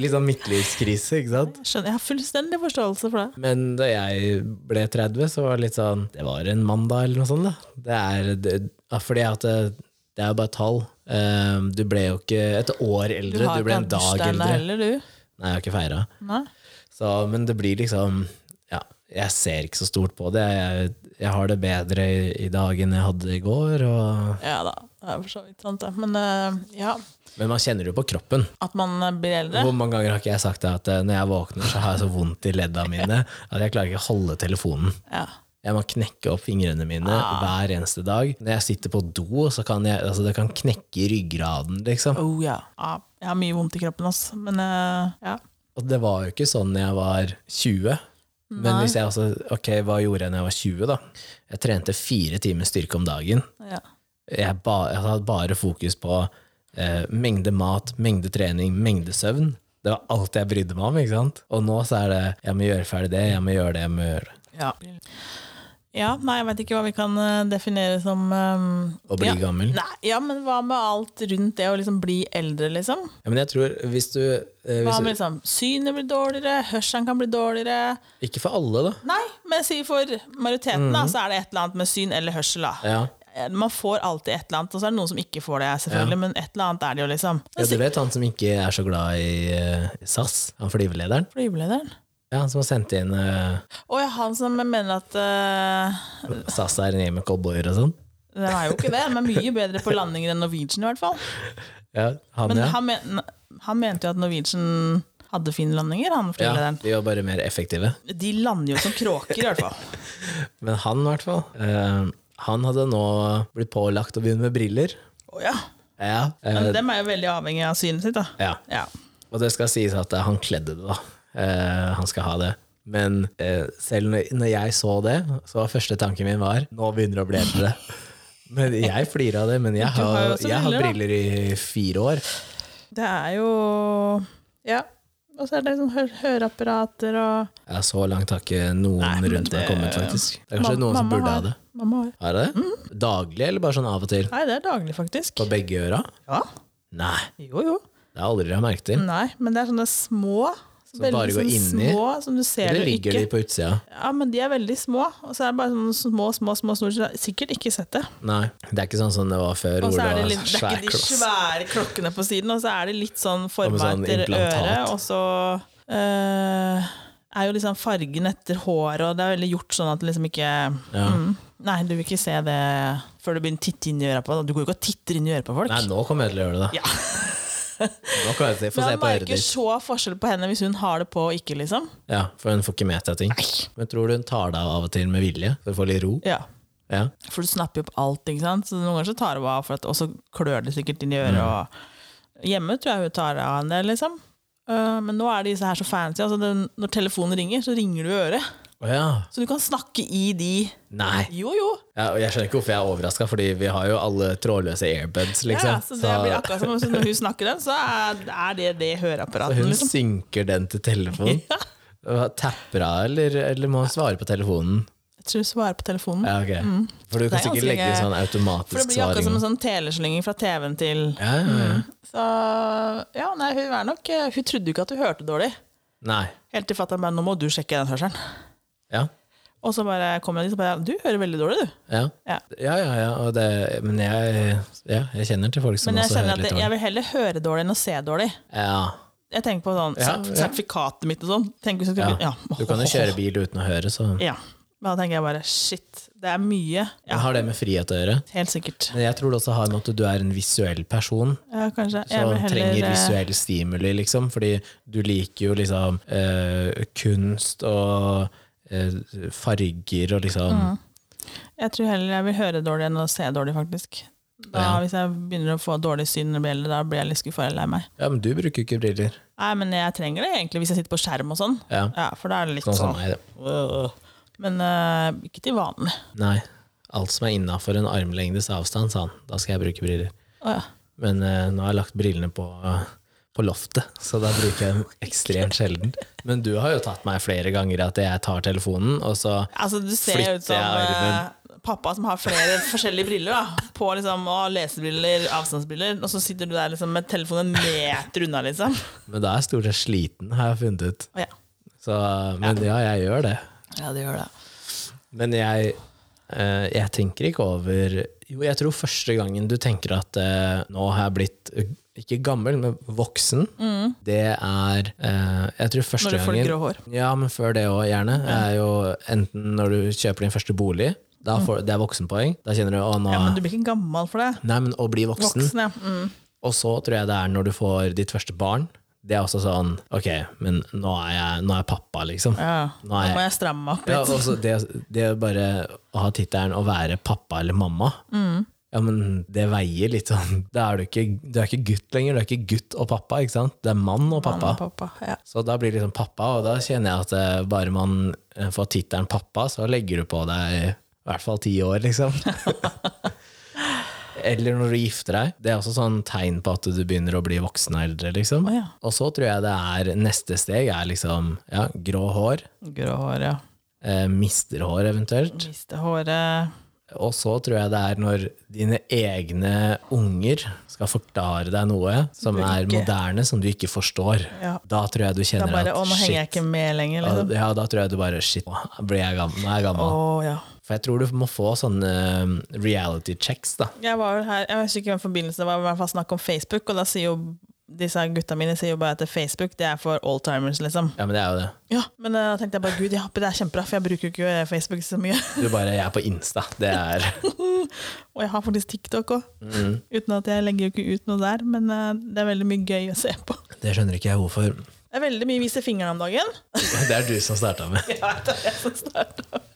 S1: litt sånn midtlivskrise, ikke sant?
S2: Jeg Skjønner, jeg har fullstendig forståelse for det.
S1: Men da jeg ble 30, så var det litt sånn Det var en mandag, eller noe sånt. da. Det er, det, ja, fordi at det, det er jo bare tall. Ehm, du ble jo ikke et år eldre, du, ble en
S2: hatt
S1: dag
S2: bursdagen
S1: eldre.
S2: heller, du.
S1: Nei, jeg har ikke feira.
S2: Nei.
S1: Så, men det blir liksom ja, Jeg ser ikke så stort på det. Jeg, jeg har det bedre i, i dag enn jeg hadde i går. Og,
S2: Ja da, det er for så vidt sant, det. Men eh, ja,
S1: men man kjenner det jo på kroppen.
S2: at man eh, blir eldre
S1: Hvor mange ganger har ikke jeg sagt det at eh, når jeg våkner, så har jeg så vondt i ledda mine at jeg klarer ikke å holde telefonen.
S2: Ja.
S1: Jeg må knekke opp fingrene mine
S2: Ah.
S1: hver eneste dag. Når jeg sitter på do, så kan jeg, altså, det kan knekke i ryggraden, liksom.
S2: Oh, ja. ja. Jeg har mye vondt i kroppen, altså. Men eh, ja.
S1: Og det var jo ikke sånn da jeg var 20. Men hvis jeg altså, ok, hva gjorde jeg da jeg var 20, da? Jeg trente fire timer styrke om dagen.
S2: ja.
S1: jeg, ba, jeg hadde bare fokus på eh, mengde mat, mengde trening, mengde søvn. Det var alt jeg brydde meg om. ikke sant? Og nå så er det jeg må gjøre ferdig det, jeg må gjøre det, jeg må gjøre det.
S2: Ja. ja, nei, jeg veit ikke hva vi kan eh, definere som eh,
S1: Å bli
S2: ja.
S1: gammel.
S2: Nei, ja, men hva med alt rundt det å liksom bli eldre, liksom?
S1: Ja, men jeg tror hvis du, eh,
S2: Hva
S1: hvis
S2: med liksom, synet blir dårligere, hørselen kan bli dårligere
S1: du Ikke for alle, da.
S2: Nei, men si for majoriteten,
S1: Mhm.
S2: da, så er det et eller annet med syn eller hørsel, da.
S1: Ja.
S2: Eh, Man får alltid et eller annet, og så er det noen som ikke får det, selvfølgelig, men et eller annet er det jo, liksom.
S1: ja, du vet han som ikke er så glad i eh, SAS, han flyvelederen?
S2: Flyvelederen.
S1: Ja, han som har sendt inn eh,
S2: Å ja, han som mener at eh,
S1: SAS er en gjeng med cowboyer og sånn.
S2: Den er jo ikke det, den er mye bedre på landinger enn Norwegian, i hvert fall.
S1: Ja, han,
S2: Men
S1: ja.
S2: han, men, han mente jo at Norwegian hadde fine landinger, han
S1: ja.
S2: flyvelederen.
S1: De var bare mer effektive.
S2: De lander jo som kråker, i hvert fall.
S1: Men han, i hvert fall, eh, han hadde nå blitt pålagt å begynne med briller.
S2: Å ja.
S1: Ja, eh,
S2: Men dem er jo veldig avhengig av synet sitt, da.
S1: ja.
S2: Ja.
S1: Og det skal sies at han kledde det, da. Eh, han skal ha det. Men eh, selv når, når jeg så det, så var første tanken min var nå begynner det å bli eldre. Men jeg flirer av det, men jeg
S2: Du har jo
S1: har,
S2: også
S1: jeg har
S2: briller,
S1: briller i fire år.
S2: Det er jo Ja. Og så er det liksom hø høreapparater og
S1: Ja, så langt har ikke noen
S2: Nei, men
S1: rundt meg
S2: det-
S1: kommet, faktisk. Det er kanskje
S2: Mam-
S1: noen som
S2: mamma
S1: burde ha
S2: har- Mm.
S1: det.
S2: Mamma har
S1: Er det det? Daglig, eller bare sånn av og til?
S2: Nei, det er daglig, faktisk.
S1: På begge øra?
S2: Ja.
S1: Nei,
S2: Jo, jo.
S1: det har jeg aldri lagt merke til.
S2: Nei, men det er sånne små.
S1: Som
S2: veldig
S1: bare går
S2: sånne
S1: inni?
S2: Små, som du ser
S1: Eller
S2: du
S1: ligger
S2: ikke.
S1: de på utsida?
S2: Ja, men de er veldig små. Og så er det bare sånne små, små, små snorer. så du har Sikkert ikke sett det.
S1: Nei, det er ikke sånn som det var før, hvor
S2: Og så
S1: det
S2: er det,
S1: var
S2: litt, det er
S1: svær
S2: ikke de
S1: kloss.
S2: svære klokkene på siden, og så er det litt sånn
S1: med
S2: forma
S1: sånn
S2: etter
S1: implantat.
S2: øret, og så eh, er jo liksom fargen etter håret, og det er veldig gjort sånn at det liksom ikke
S1: Ja.
S2: mm, Nei, du vil ikke se det før du begynner å titte inn i øra på det. Du går jo ikke og titter inn i øra på folk.
S1: Nei, nå kommer jeg til å gjøre det, da.
S2: Ja.
S1: nå kommer jeg til å få
S2: Men
S1: se
S2: han
S1: på øret
S2: merker
S1: ditt.
S2: så forskjell på henne hvis hun har det på og ikke, liksom.
S1: Ja, For hun får ikke med seg ting. Men tror du hun tar deg av av og til med vilje, for å få litt ro?
S2: Ja.
S1: Ja.
S2: For du snapper jo opp alt, ikke sant? Så noen ganger så tar hun av, for at, og så klør det sikkert inn i øret. Og hjemme tror jeg hun tar av en del, liksom. Eh, men nå er disse her så fancy. Altså den, når telefonen ringer, så ringer du i øret.
S1: Å ja.
S2: Så du kan snakke i de
S1: Nei.
S2: Jo, jo!
S1: Ja, og jeg skjønner ikke hvorfor jeg er overraska, fordi vi har jo alle trådløse airbuds,
S2: Ja,
S1: liksom.
S2: ja, så det blir akkurat som om når hun snakker den, så er, er det det
S1: så
S2: høreapparatet.
S1: hun
S2: Liksom.
S1: synker den til telefonen.
S2: Ja.
S1: Og Tapper av, eller, eller må hun svare på telefonen?
S2: Jeg tror hun svarer på telefonen.
S1: Ja, ok. For du kan
S2: Mm. Det er
S1: sikkert
S2: ganske
S1: legge
S2: gøy.
S1: sånn
S2: For det
S1: automatisk
S2: blir akkurat som
S1: svaring.
S2: en Mm. sånn teleslenging fra TV-en til
S1: Ja, ja, ja.
S2: Så ja, nei, hun er nok eh, Hun trodde jo ikke at hun hørte dårlig.
S1: Nei.
S2: Helt til fatter'n bare 'nå må du sjekke den hørselen'.
S1: Ja.
S2: Og så bare kom jeg dit og bare 'du hører veldig dårlig, du'.
S1: Ja.
S2: Ja.
S1: Ja, ja, ja. Og det, men jeg, ja, jeg kjenner til folk som
S2: Men jeg
S1: også
S2: kjenner
S1: hører
S2: at
S1: litt
S2: jeg,
S1: dårlig.
S2: vil heller høre dårlig enn å se dårlig.
S1: Ja.
S2: Jeg tenker på sånn
S1: Ja,
S2: sert-
S1: ja.
S2: sertifikatet mitt og sånn. Tenk hvis jeg skulle, ja.
S1: Ja. Du kan jo kjøre bil uten å høre, så
S2: Ja. Da tenker jeg bare 'shit, det er mye'.
S1: Men
S2: Ja,
S1: har det med frihet å gjøre.
S2: helt sikkert.
S1: Men jeg tror det også har med at du er en visuell person
S2: Ja, kanskje. Jeg
S1: som
S2: vil heller,
S1: trenger
S2: eh,
S1: visuell stimuli, liksom. Fordi du liker jo liksom eh, kunst og eh, farger og liksom
S2: Mm. Jeg tror heller jeg vil høre dårlig enn å se dårlig, faktisk. Da,
S1: Ja.
S2: Hvis jeg begynner å få dårlig syn når jeg blir eldre, da blir jeg litt skuffa eller lei meg.
S1: Ja, men du bruker jo ikke briller.
S2: Nei, men jeg trenger det egentlig hvis jeg sitter på skjerm og sånn.
S1: Ja.
S2: Ja, for da er det litt
S1: Sånn som
S2: sånn.
S1: meg. det.
S2: Øh. Men øh, ikke til vanlig.
S1: Nei. Alt som er innafor en armlengdes avstand, sa han. Da skal jeg bruke briller.
S2: Å ja.
S1: Men eh, nå har jeg lagt brillene på, på loftet, så da bruker jeg dem ekstremt sjelden. Men du har jo tatt meg flere ganger at jeg tar telefonen, og så
S2: Altså, du ser
S1: Flytter
S2: ut som
S1: jeg armen?
S2: øh, pappa som har flere forskjellige briller. da På liksom å, lesebriller, avstandsbriller, og så sitter du der liksom med telefonen en meter unna, liksom.
S1: Men da er jeg stort sett sliten, har jeg funnet ut.
S2: Å ja.
S1: Så, eh, men ja. jeg gjør det.
S2: ja, det gjør det.
S1: Men jeg, eh, jeg tenker ikke over Jo, jeg tror første gangen du tenker at eh, nå har jeg blitt eh, ikke gammel, men voksen, det er eh, Jeg tror første
S2: Mm. Når du får litt
S1: gangen
S2: grå hår.
S1: Ja, men før det òg, gjerne. Er jo enten når du kjøper din første bolig, da får, det er voksenpoeng. Da kjenner du å, nå
S2: Mm. Ja, men du blir ikke gammel for det.
S1: Nei, men å bli voksen.
S2: Voksen, ja. Mm.
S1: Og så tror jeg det er når du får ditt første barn. Det er også sånn Ok, men nå er jeg, nå er jeg pappa, liksom.
S2: ja.
S1: Nå
S2: Nå
S1: er jeg-
S2: må jeg stramme meg opp
S1: Ja,
S2: litt.
S1: og så det, det å bare å ha tittelen å være pappa eller mamma, ja, men det veier litt sånn Da er du ikke, du er ikke gutt lenger. Du er ikke gutt og pappa, ikke sant? Det er mann og pappa.
S2: Mamma, pappa. Ja.
S1: Så da blir det liksom pappa, og da kjenner jeg at eh, bare man eh, får tittelen pappa, så legger du på deg i hvert fall ti år, liksom. Eller når du gifter deg. Det er også sånn tegn på at du begynner å bli voksen og eldre, liksom.
S2: Å ja.
S1: Og så tror jeg det er neste steg er liksom ja, grå hår.
S2: Grå hår, ja.
S1: eh, mister hår eventuelt.
S2: Miste håret
S1: Og så tror jeg det er når dine egne unger skal forklare deg noe som
S2: Du
S1: er
S2: ikke-
S1: moderne, som du ikke forstår.
S2: Ja.
S1: Da tror jeg du
S2: Da
S1: kjenner
S2: bare Å,
S1: at
S2: nå henger jeg
S1: shit.
S2: ikke med lenger,
S1: Ja,
S2: liksom.
S1: ja, da tror jeg du bare Shit, nå blir jeg gammel. Nå er jeg
S2: Å,
S1: gammel.
S2: ja.
S1: For jeg tror du må få sånne eh, reality checks, da.
S2: Jeg var vel her, jeg husker ikke hvem forbindelse det var, men i hvert fall snakk om Facebook, og da sier jo disse gutta mine sier jo bare at Facebook det er for oldtimers, liksom.
S1: Ja, men det er jo det.
S2: Ja, Men eh, da tenkte jeg bare gud, ja, det er kjempebra, for jeg bruker jo ikke eh, Facebook så mye.
S1: Du bare Jeg er på Insta. Det er
S2: Og jeg har faktisk TikTok òg,
S1: mm,
S2: uten at jeg legger jo ikke ut noe der, men eh, det er veldig mye gøy å se på.
S1: Det skjønner ikke jeg hvorfor.
S2: Det er veldig mye vise fingeren om dagen.
S1: Det er du som starta med.
S2: Ja, det er jeg som starter.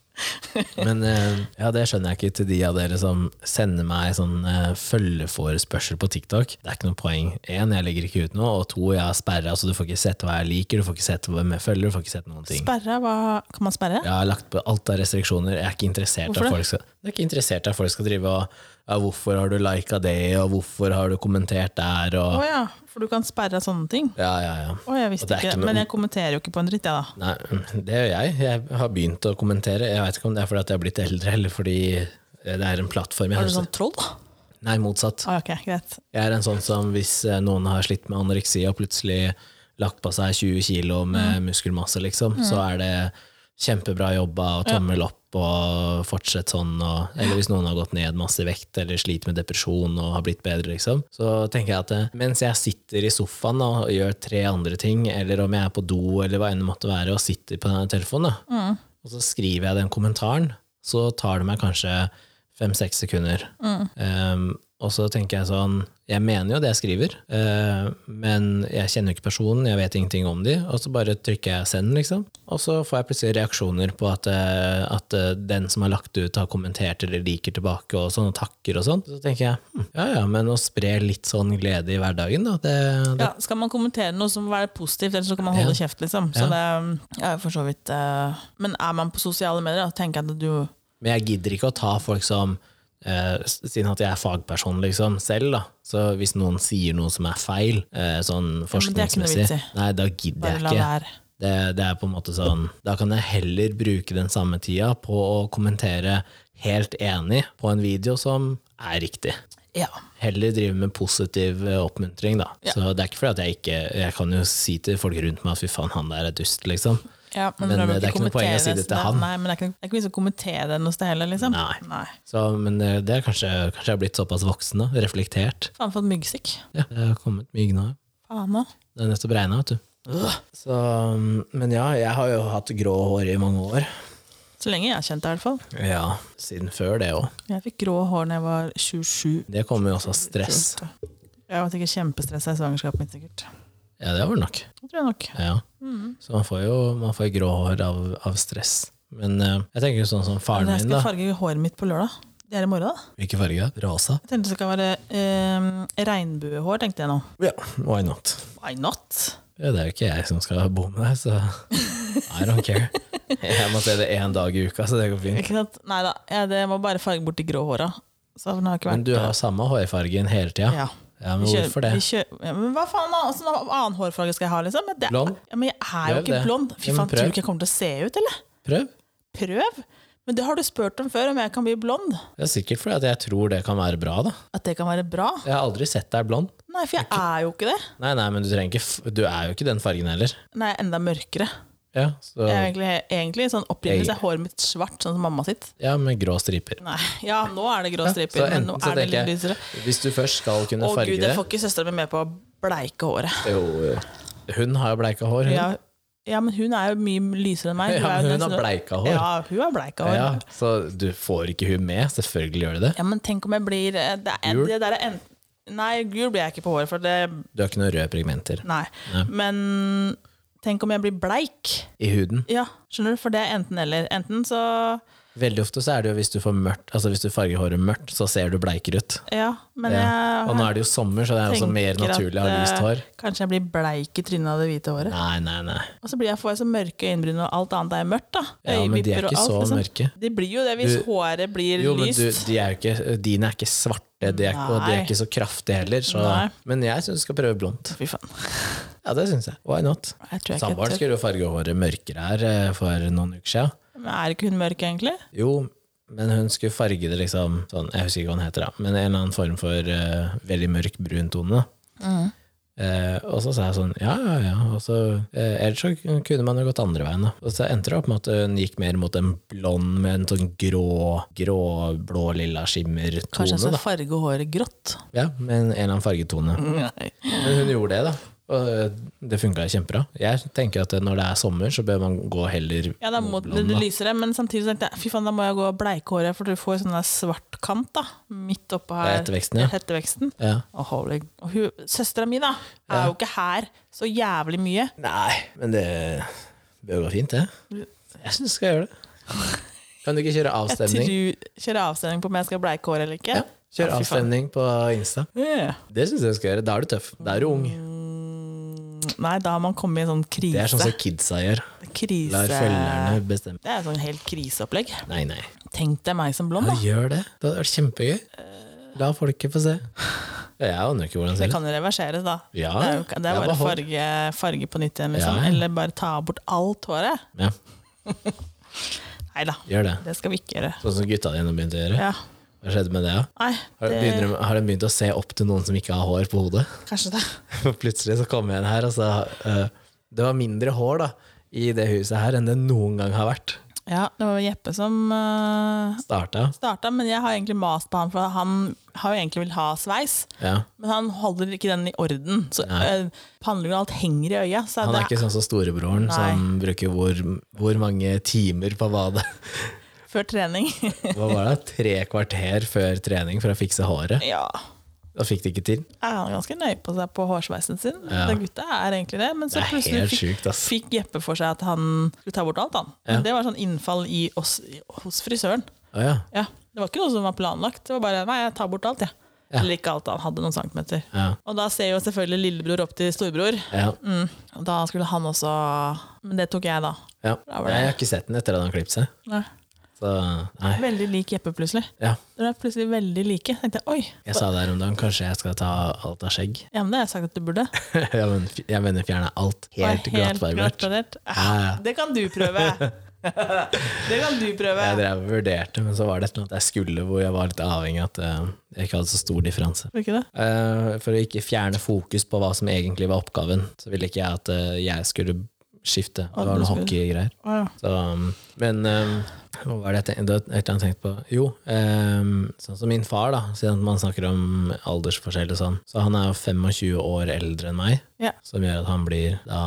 S1: Men eh, ja, det skjønner jeg ikke til de av dere som sender meg sånn eh, følgeforespørsel på TikTok. Det er ikke noe poeng. Én, jeg legger ikke ut noe, og to, jeg har sperra, så du får ikke sett hva jeg liker, du får ikke sett hvem jeg følger, du får ikke sett noen ting.
S2: Sperra, hva Kan man sperre?
S1: Jeg har lagt på alt av restriksjoner. Jeg er ikke interessert
S2: Hvorfor
S1: at
S2: det?
S1: folk skal, jeg er ikke interessert at folk skal drive og ja, Hvorfor har du lika det, og hvorfor har du kommentert der,
S2: Å
S1: og
S2: ja, for du kan sperre sånne ting.
S1: Ja, ja, ja.
S2: Å, jeg visste
S1: Og det er
S2: ikke
S1: ikke
S2: det.
S1: noe-
S2: Men jeg kommenterer jo ikke på en dritt, jeg, da.
S1: Nei, det gjør jeg. Jeg har begynt å kommentere. Jeg vet ikke om det er fordi at jeg har blitt eldre, eller fordi eh, det er en plattform. Jeg
S2: Er du
S1: synes-
S2: sånn troll? Å,
S1: Nei, motsatt.
S2: ok, greit.
S1: Jeg er en sånn som hvis eh, noen har slitt med anoreksi og plutselig lagt på seg 20 kilo med muskelmasse, liksom, så er det kjempebra jobba og tommel opp og fortsett sånn. Og, eller hvis noen har gått ned masse i vekt eller sliter med depresjon og har blitt bedre, liksom, så tenker jeg at eh, mens jeg sitter i sofaen og gjør tre andre ting, eller om jeg er på do eller hva enn det måtte være, og sitter på denne telefonen, da, og så skriver jeg den kommentaren, så tar det meg kanskje fem-seks sekunder. Um, og så tenker jeg sånn Jeg mener jo det jeg skriver, eh, men jeg kjenner jo ikke personen, jeg vet ingenting om de, og så bare trykker jeg send, liksom. Og så får jeg plutselig reaksjoner på at, eh, at eh, den som har lagt ut, har kommentert eller liker tilbake og sånn, og takker og sånn. Så tenker jeg hm, ja ja, men å spre litt sånn glede i hverdagen, da, det, det
S2: Ja, skal man kommentere noe som må være positivt, eller så kan man holde kjeft, liksom. Så det um, er jo for så vidt eh, Men er man på sosiale medier, da tenker jeg at du
S1: Men jeg gidder ikke å ta folk som eh, s- Siden at jeg er fagperson liksom, selv, da. Så hvis noen sier noe som er feil, eh, sånn
S2: men det er ikke noe
S1: forskningsmessig,
S2: vits i.
S1: nei, da gidder
S2: bare
S1: jeg
S2: la
S1: ikke.
S2: være.
S1: Det, det er på en måte sånn Da kan jeg heller bruke den samme tida på å kommentere helt enig på en video som er riktig.
S2: Ja.
S1: Heller drive med positiv eh, oppmuntring, da.
S2: Ja.
S1: Så det er ikke fordi at jeg ikke Jeg kan jo si til folk rundt meg at fy faen, han der er dust, liksom.
S2: ja men,
S1: Men,
S2: prøv
S1: eh, det er ikke noe
S2: kommentere
S1: poeng å si det til
S2: så
S1: han.
S2: Nei, men det er ikke, det er ikke vits å kommentere det noe sted heller, liksom.
S1: Nei. Så, men eh, det er kanskje, kanskje jeg har blitt såpass voksen, da. Reflektert.
S2: Faen for et myggstikk.
S1: Ja, det har kommet mye gnav.
S2: Faen òg.
S1: Det er nettopp regna, vet du. Så, um, men ja, jeg har jo hatt grå hår i mange år.
S2: Så lenge jeg har kjent deg, i hvert fall.
S1: Ja, siden før det òg.
S2: Jeg fikk grå hår da jeg var 27.
S1: Det kommer jo også av stress.
S2: Jeg var sikkert kjempestressa i svangerskapet mitt, sikkert.
S1: Ja, det var det nok.
S2: Det tror jeg nok.
S1: Ja.
S2: Mm.
S1: Så man får jo man får grå hår av, av stress. Men eh, jeg tenker jo sånn som faren
S2: Men jeg
S1: min,
S2: skal
S1: da.
S2: farge håret mitt på lørdag. Det er i morgen, da.
S1: Hvilken farge? Rosa?
S2: Jeg tenkte det skal være eh, regnbuehår, tenkte jeg nå.
S1: Ja, why not?
S2: Why not?
S1: Ja, det er jo ikke jeg som skal bo med deg, så I don't care. Jeg må se det én dag i uka, så det går fint.
S2: Ikke sant? Nei da, jeg det må bare farge bort de grå håra. Så den har ikke vært
S1: Men du har samme hårfargen hele tida.
S2: ja.
S1: Ja, men
S2: Vi kjører-
S1: hvorfor det?
S2: vi kjører- ja, men hva faen, da? Åssen annen hårfarge skal jeg ha, liksom? Men det,
S1: Blond?
S2: Ja, men jeg er jo
S1: Prøv
S2: ikke
S1: det.
S2: blond.
S1: Ja,
S2: Fy
S1: men
S2: faen, tror
S1: prøv.
S2: du ikke jeg kommer til å se ut, eller?
S1: Prøv.
S2: Prøv! Men det har du spurt om før, om jeg kan bli blond.
S1: Det er sikkert fordi at jeg tror det kan være bra, da.
S2: At det kan være bra.
S1: Jeg har aldri sett deg blond.
S2: Nei, for jeg er jo ikke det.
S1: Nei, nei, men du trenger ikke f Du er jo ikke den fargen heller.
S2: Nei, jeg er enda mørkere.
S1: Ja, så,
S2: Jeg er egentlig, egentlig sånn opprinnelig så er håret mitt svart, sånn som mamma sitt.
S1: ja med grå striper.
S2: Nei, ja, nå er det grå
S1: så
S2: striper, men nå
S1: enten så
S2: er det
S1: tenker
S2: litt
S1: jeg-
S2: lysere.
S1: Hvis du først skal kunne
S2: Å
S1: farge
S2: gud,
S1: det
S2: jeg får ikke søstera mi med på å bleike håret.
S1: jo, jo. Hun har jo bleika hår, hun. Ja,
S2: Ja, ja, men hun er jo mye lysere enn meg.
S1: men hun har
S2: har
S1: bleika hår.
S2: sånn- Ja, hun har bleika hår.
S1: Ja,
S2: Ja.
S1: så du får ikke hun med. Selvfølgelig gjør du det.
S2: men tenk om jeg blir eh, det er,
S1: Gul?
S2: Det der er en, Nei, gul blir jeg ikke på håret, for det
S1: Du har ikke noen røde pigmenter
S2: Nei.
S1: Nei.
S2: Men tenk om jeg blir bleik.
S1: i huden.
S2: Ja, skjønner du, for det er enten-eller. Enten så
S1: Veldig ofte så er det jo hvis du får mørkt Altså hvis du farger håret mørkt, så ser du bleikere ut.
S2: Ja, men
S1: Ja. Og nå
S2: jeg
S1: er det jo sommer, så det er også mer
S2: tenker
S1: naturlig å ha
S2: at,
S1: lyst hår.
S2: eh, Kanskje jeg blir bleik i trynet av det hvite håret.
S1: Nei, nei, nei.
S2: Og så blir jeg, får jeg så mørke øyenbryn, og alt annet er mørkt. da
S1: Ja, men de
S2: Øyevipper
S1: er
S2: og
S1: ikke
S2: alt,
S1: så
S2: liksom.
S1: mørke.
S2: De blir jo det hvis
S1: Du-
S2: håret blir
S1: Jo, men
S2: lyst.
S1: du, de er jo ikke, dine er ikke svarte, de er ikke, og de er
S2: Nei.
S1: ikke så kraftige heller. Så.
S2: Nei.
S1: Men jeg syns du skal prøve blondt.
S2: Fy faen.
S1: Ja, det syns jeg. Why not?
S2: Jeg tror jeg ikke
S1: Samboeren
S2: tør.
S1: skulle jo farge håret mørkere her eh, for noen uker siden.
S2: Men er ikke hun mørk, egentlig?
S1: Jo, men hun skulle farge det liksom sånn, Jeg husker ikke hva den heter, da, men en eller annen form for eh, veldig mørk brun tone. da.
S2: Mm.
S1: Eh, og så sa jeg sånn ja, ja, ja. Og så, eh, ellers så kunne man jo gått andre veien. da. Og så endte det opp med at hun gikk mer mot en blond med en sånn grå, grå blå, lilla
S3: Kanskje
S1: skimmertone.
S3: hun skal
S2: sånn
S1: da. Mm.
S3: farge håret grått?
S1: Ja, med en, en eller annen fargetone.
S3: Nei.
S1: Men hun gjorde det, da. Og eh, det funka kjempebra. Jeg tenker at eh, når det er sommer, så bør man gå heller
S2: Ja, da må det
S1: blond, da.
S2: lysere, men samtidig så tenkte jeg fy faen, da må jeg gå og bleike håret, for du får sånn der svart kant da, midt oppe her.
S1: Det er hetteveksten, ja.
S2: Hetteveksten.
S1: ja.
S2: Og holy. Og hun, søstera mi, da, er jo ikke her så jævlig mye.
S1: Nei, men det bør gå fint, det. Jeg syns du skal gjøre det. Kan du ikke kjøre avstemning?
S2: Jeg tror, kjøre avstemning på om jeg skal bleike håret eller ikke.
S1: Ja, kjør
S2: Ja, fy faen.
S1: avstemning på Insta.
S2: Ja.
S1: Det syns jeg du skal gjøre. Da er du tøff. Da er du ung.
S2: Mm, Nei, da har man kommet i en sånn
S1: Det
S2: krise.
S1: er sånn som kidsa gjør.
S2: krise.
S1: Lar følgerne bestemme.
S2: Det er sånn helt kriseopplegg.
S1: Nei, nei.
S2: Tenk deg meg som blond,
S1: Ja,
S2: da.
S1: gjør det. Det hadde vært kjempegøy. La folket få se. Ja, jeg aner jo ikke hvordan det
S2: Eh.
S1: ser ut.
S2: Det kan jo reverseres, da.
S1: Ja,
S2: det er, jo, ikke- det
S1: Ah, ja, bare
S2: er bare
S1: hår.
S2: farge, farge på nytt igjen, liksom.
S1: Ja.
S2: Eller bare ta bort alt håret.
S1: Ja,
S2: Nei da,
S1: gjør det.
S2: det skal vi ikke gjøre.
S1: Sånn som gutta dine begynte å gjøre.
S2: Ja.
S1: Hva skjedde med det? da?
S2: Nei,
S1: Har de,
S2: det,
S1: begynner de, har de begynt å se opp til noen som ikke har hår på hodet?
S2: kanskje det.
S1: Og plutselig så kom jeg inn her, og så eh, Det var mindre hår da i det huset her enn det noen gang har vært.
S2: Ja, det var Jeppe som uh,
S1: Starta.
S2: starta, men jeg har egentlig mast på han, for han har jo egentlig vil ha sveis.
S1: Ja.
S2: Men han holder ikke den i orden. Så
S1: Nei.
S2: uh, panneluggen og alt henger i øya. Så
S1: Han
S2: det
S1: er ikke sånn som storebroren, som bruker hvor, hvor mange timer på hva det
S2: før trening.
S1: Hva var det? Tre kvarter før trening for å fikse håret.
S2: ja.
S1: Da fikk de ikke til.
S2: Er han ganske nøye på seg på hårsveisen sin?
S1: Ja.
S2: Den gutta er egentlig det, men så
S1: Det er
S2: plutselig
S1: helt
S2: fikk,
S1: sjukt, ass.
S2: fikk Jeppe for seg at han skulle ta bort alt, han. Men
S1: Ja.
S2: Det var sånn innfall i oss, i, hos frisøren.
S1: Å ja.
S2: Ja, det var ikke noe som var planlagt. Det var bare nei, jeg tar bort alt, jeg.
S1: Ja.
S2: Eller ikke alt, han hadde noen centimeter.
S1: Ja.
S2: Og da ser jo selvfølgelig lillebror opp til storbror.
S1: Ja.
S2: Mm. Og da skulle han også Men det tok jeg, da.
S1: ja.
S2: var det.
S1: Jeg har ikke sett den etter at han har klippet seg. Så nei.
S2: Veldig lik Jeppe, plutselig.
S1: Ja.
S2: Dere er plutselig veldig like. tenkte jeg, oi,
S1: Jeg sa det her om dagen, kanskje jeg skal ta alt av skjegg.
S2: ja, men det har jeg sagt at du burde. Det
S1: Jeg mener, jeg mener fjerne alt.
S2: var
S1: Helt glattbarbert.
S2: glattbarbert. Ah,
S1: Ja, ja.
S2: Det kan du prøve! det kan du prøve.
S1: Jeg drev og vurderte, men så var det et eller annet jeg skulle hvor jeg var litt avhengig av at eh, jeg ikke hadde så stor differanse.
S2: Var ikke det?
S1: Eh, for å ikke fjerne fokus på hva som egentlig var oppgaven, så ville ikke jeg at eh, jeg skulle skifte. Det var
S2: du
S1: noe
S2: skulle-
S1: hockeygreier.
S2: Å, ja.
S1: Så, um, men um, hva var det jeg tenkte, det var et eller annet jeg tenkte på? Jo, um, sånn som min far, da, siden man snakker om aldersforskjell og sånn. Så han er jo 25 år eldre enn meg,
S2: Ja.
S1: som gjør at han blir da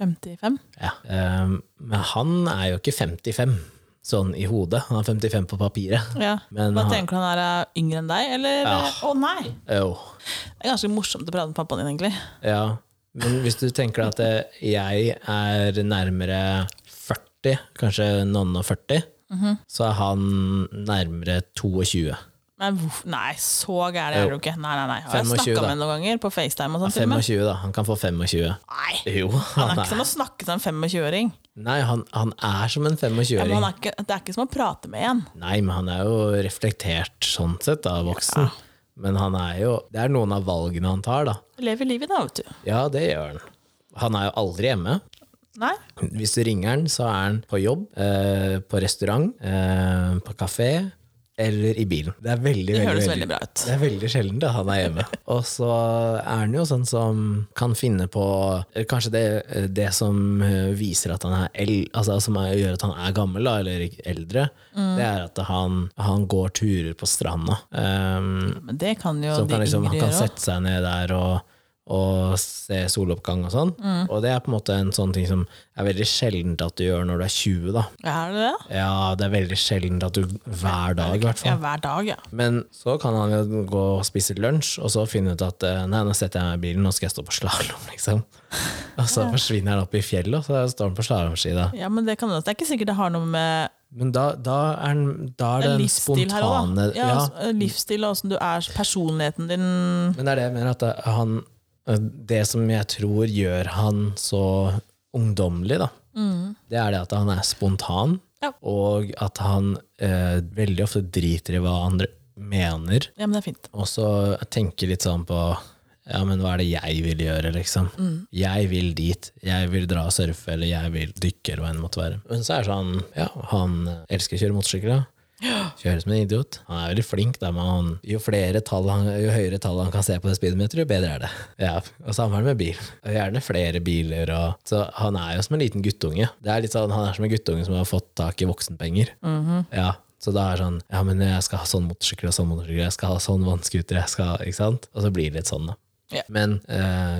S2: 55?
S1: ja. Ehm, Men han er jo ikke 55 sånn i hodet. Han er 55 på papiret.
S2: Ja.
S1: Men
S2: Hva
S1: han-
S2: tenker du han er eh, yngre enn deg, eller? Å
S1: Ja.
S2: nei!
S1: Jo.
S2: Det er ganske morsomt å prate med pappaen din, egentlig.
S1: Ja. Men hvis du tenker at eh, jeg er nærmere 40, kanskje noen og 40, så er han nærmere 22.
S2: Men hvorf- Nei, så gæren er du ikke. Nei, nei, nei. Har jeg
S1: 25
S2: snakka
S1: da.
S2: med ham noen ganger på FaceTime og sånn? til og med?
S1: 25, da. Han kan få 25.
S2: Nei!
S1: Jo,
S2: Han
S1: han
S2: er ikke
S1: er
S2: som å snakke til en 25-åring.
S1: Nei, han, han er som en
S2: Ja, men han
S1: 25-åring.
S2: er ikke- det er ikke som å prate med en.
S1: Nei, men han er jo reflektert sånn sett, da, voksen. Men han er jo Det er noen av valgene han tar, da.
S2: Du lever livet da, vet du.
S1: Ja, det gjør han. Han er jo aldri hjemme.
S2: Nei?
S1: Hvis du ringer han, så er han på jobb, eh, på restaurant, eh, på kafé eller i bilen. Det er veldig,
S2: Det
S1: veldig,
S2: høres veldig bra ut.
S1: Det er veldig sjelden da han er hjemme. Og så er han jo sånn som kan finne på eh, kanskje det, det som eh, viser at han er el, altså som er, gjør at han er gammel da, eller eldre,
S2: Mm.
S1: det er at han, han går turer på stranda. Um,
S2: Men det kan jo
S1: som
S2: de
S1: kan liksom,
S2: yngre
S1: han kan
S2: gjøre òg.
S1: sette seg ned der og, og se soloppgang og sånn.
S2: Mm.
S1: Og det er på en måte en sånn ting som er veldig sjeldent at du gjør når du er 20, da.
S2: Er det det?
S1: Ja, det er veldig sjeldent at du hver dag, i hvert
S2: Ja,
S1: fall.
S2: hver dag, ja.
S1: Men så kan han jo gå og spise lunsj, og så finne ut at eh, nei, nå setter jeg meg i bilen, nå skal jeg stå på slalåm, liksom. Og så forsvinner han opp i fjellet, og så står han på slalåmski da.
S2: Ja, men Det kan det er ikke sikkert det har noe med
S1: Men da, da er, den- da er den
S2: livsstil her òg,
S1: spontane
S2: da. Ja, altså, Livsstil og åssen du er, personligheten din
S1: Men det er det jeg mener at det, han, eh, det som jeg tror gjør han så ungdommelig, da, det er det at han er spontan,
S2: Mm. Ja.
S1: og at han eh, veldig ofte driter i hva andre mener,
S2: Ja, men det er fint.
S1: og så tenker litt sånn på eh, Ja, men hva er det jeg vil gjøre, liksom? Jeg vil dit. Jeg vil dra og surfe, eller jeg vil dykke, eller hva enn det måtte være. Men så er det sånn, ja, han elsker å kjøre motorsykkel, ja. Kjører som en idiot. Han er veldig flink, da, men han, jo, flere tall han, jo høyere tall han kan se på det speedometeret, jo bedre er det. Ja, Og samme er det med bil. Og Gjerne flere biler. Og, så han er jo som en liten guttunge. Det er litt sånn, Han er som en guttunge som har fått tak i voksenpenger. Ja, så da er det sånn Ja, men jeg skal ha sånn motorsykkel og sånn motorsykkel, jeg skal ha sånn vannskuter, jeg skal Ikke sant? Og så blir det litt sånn, da.
S2: Ja.
S1: Men eh,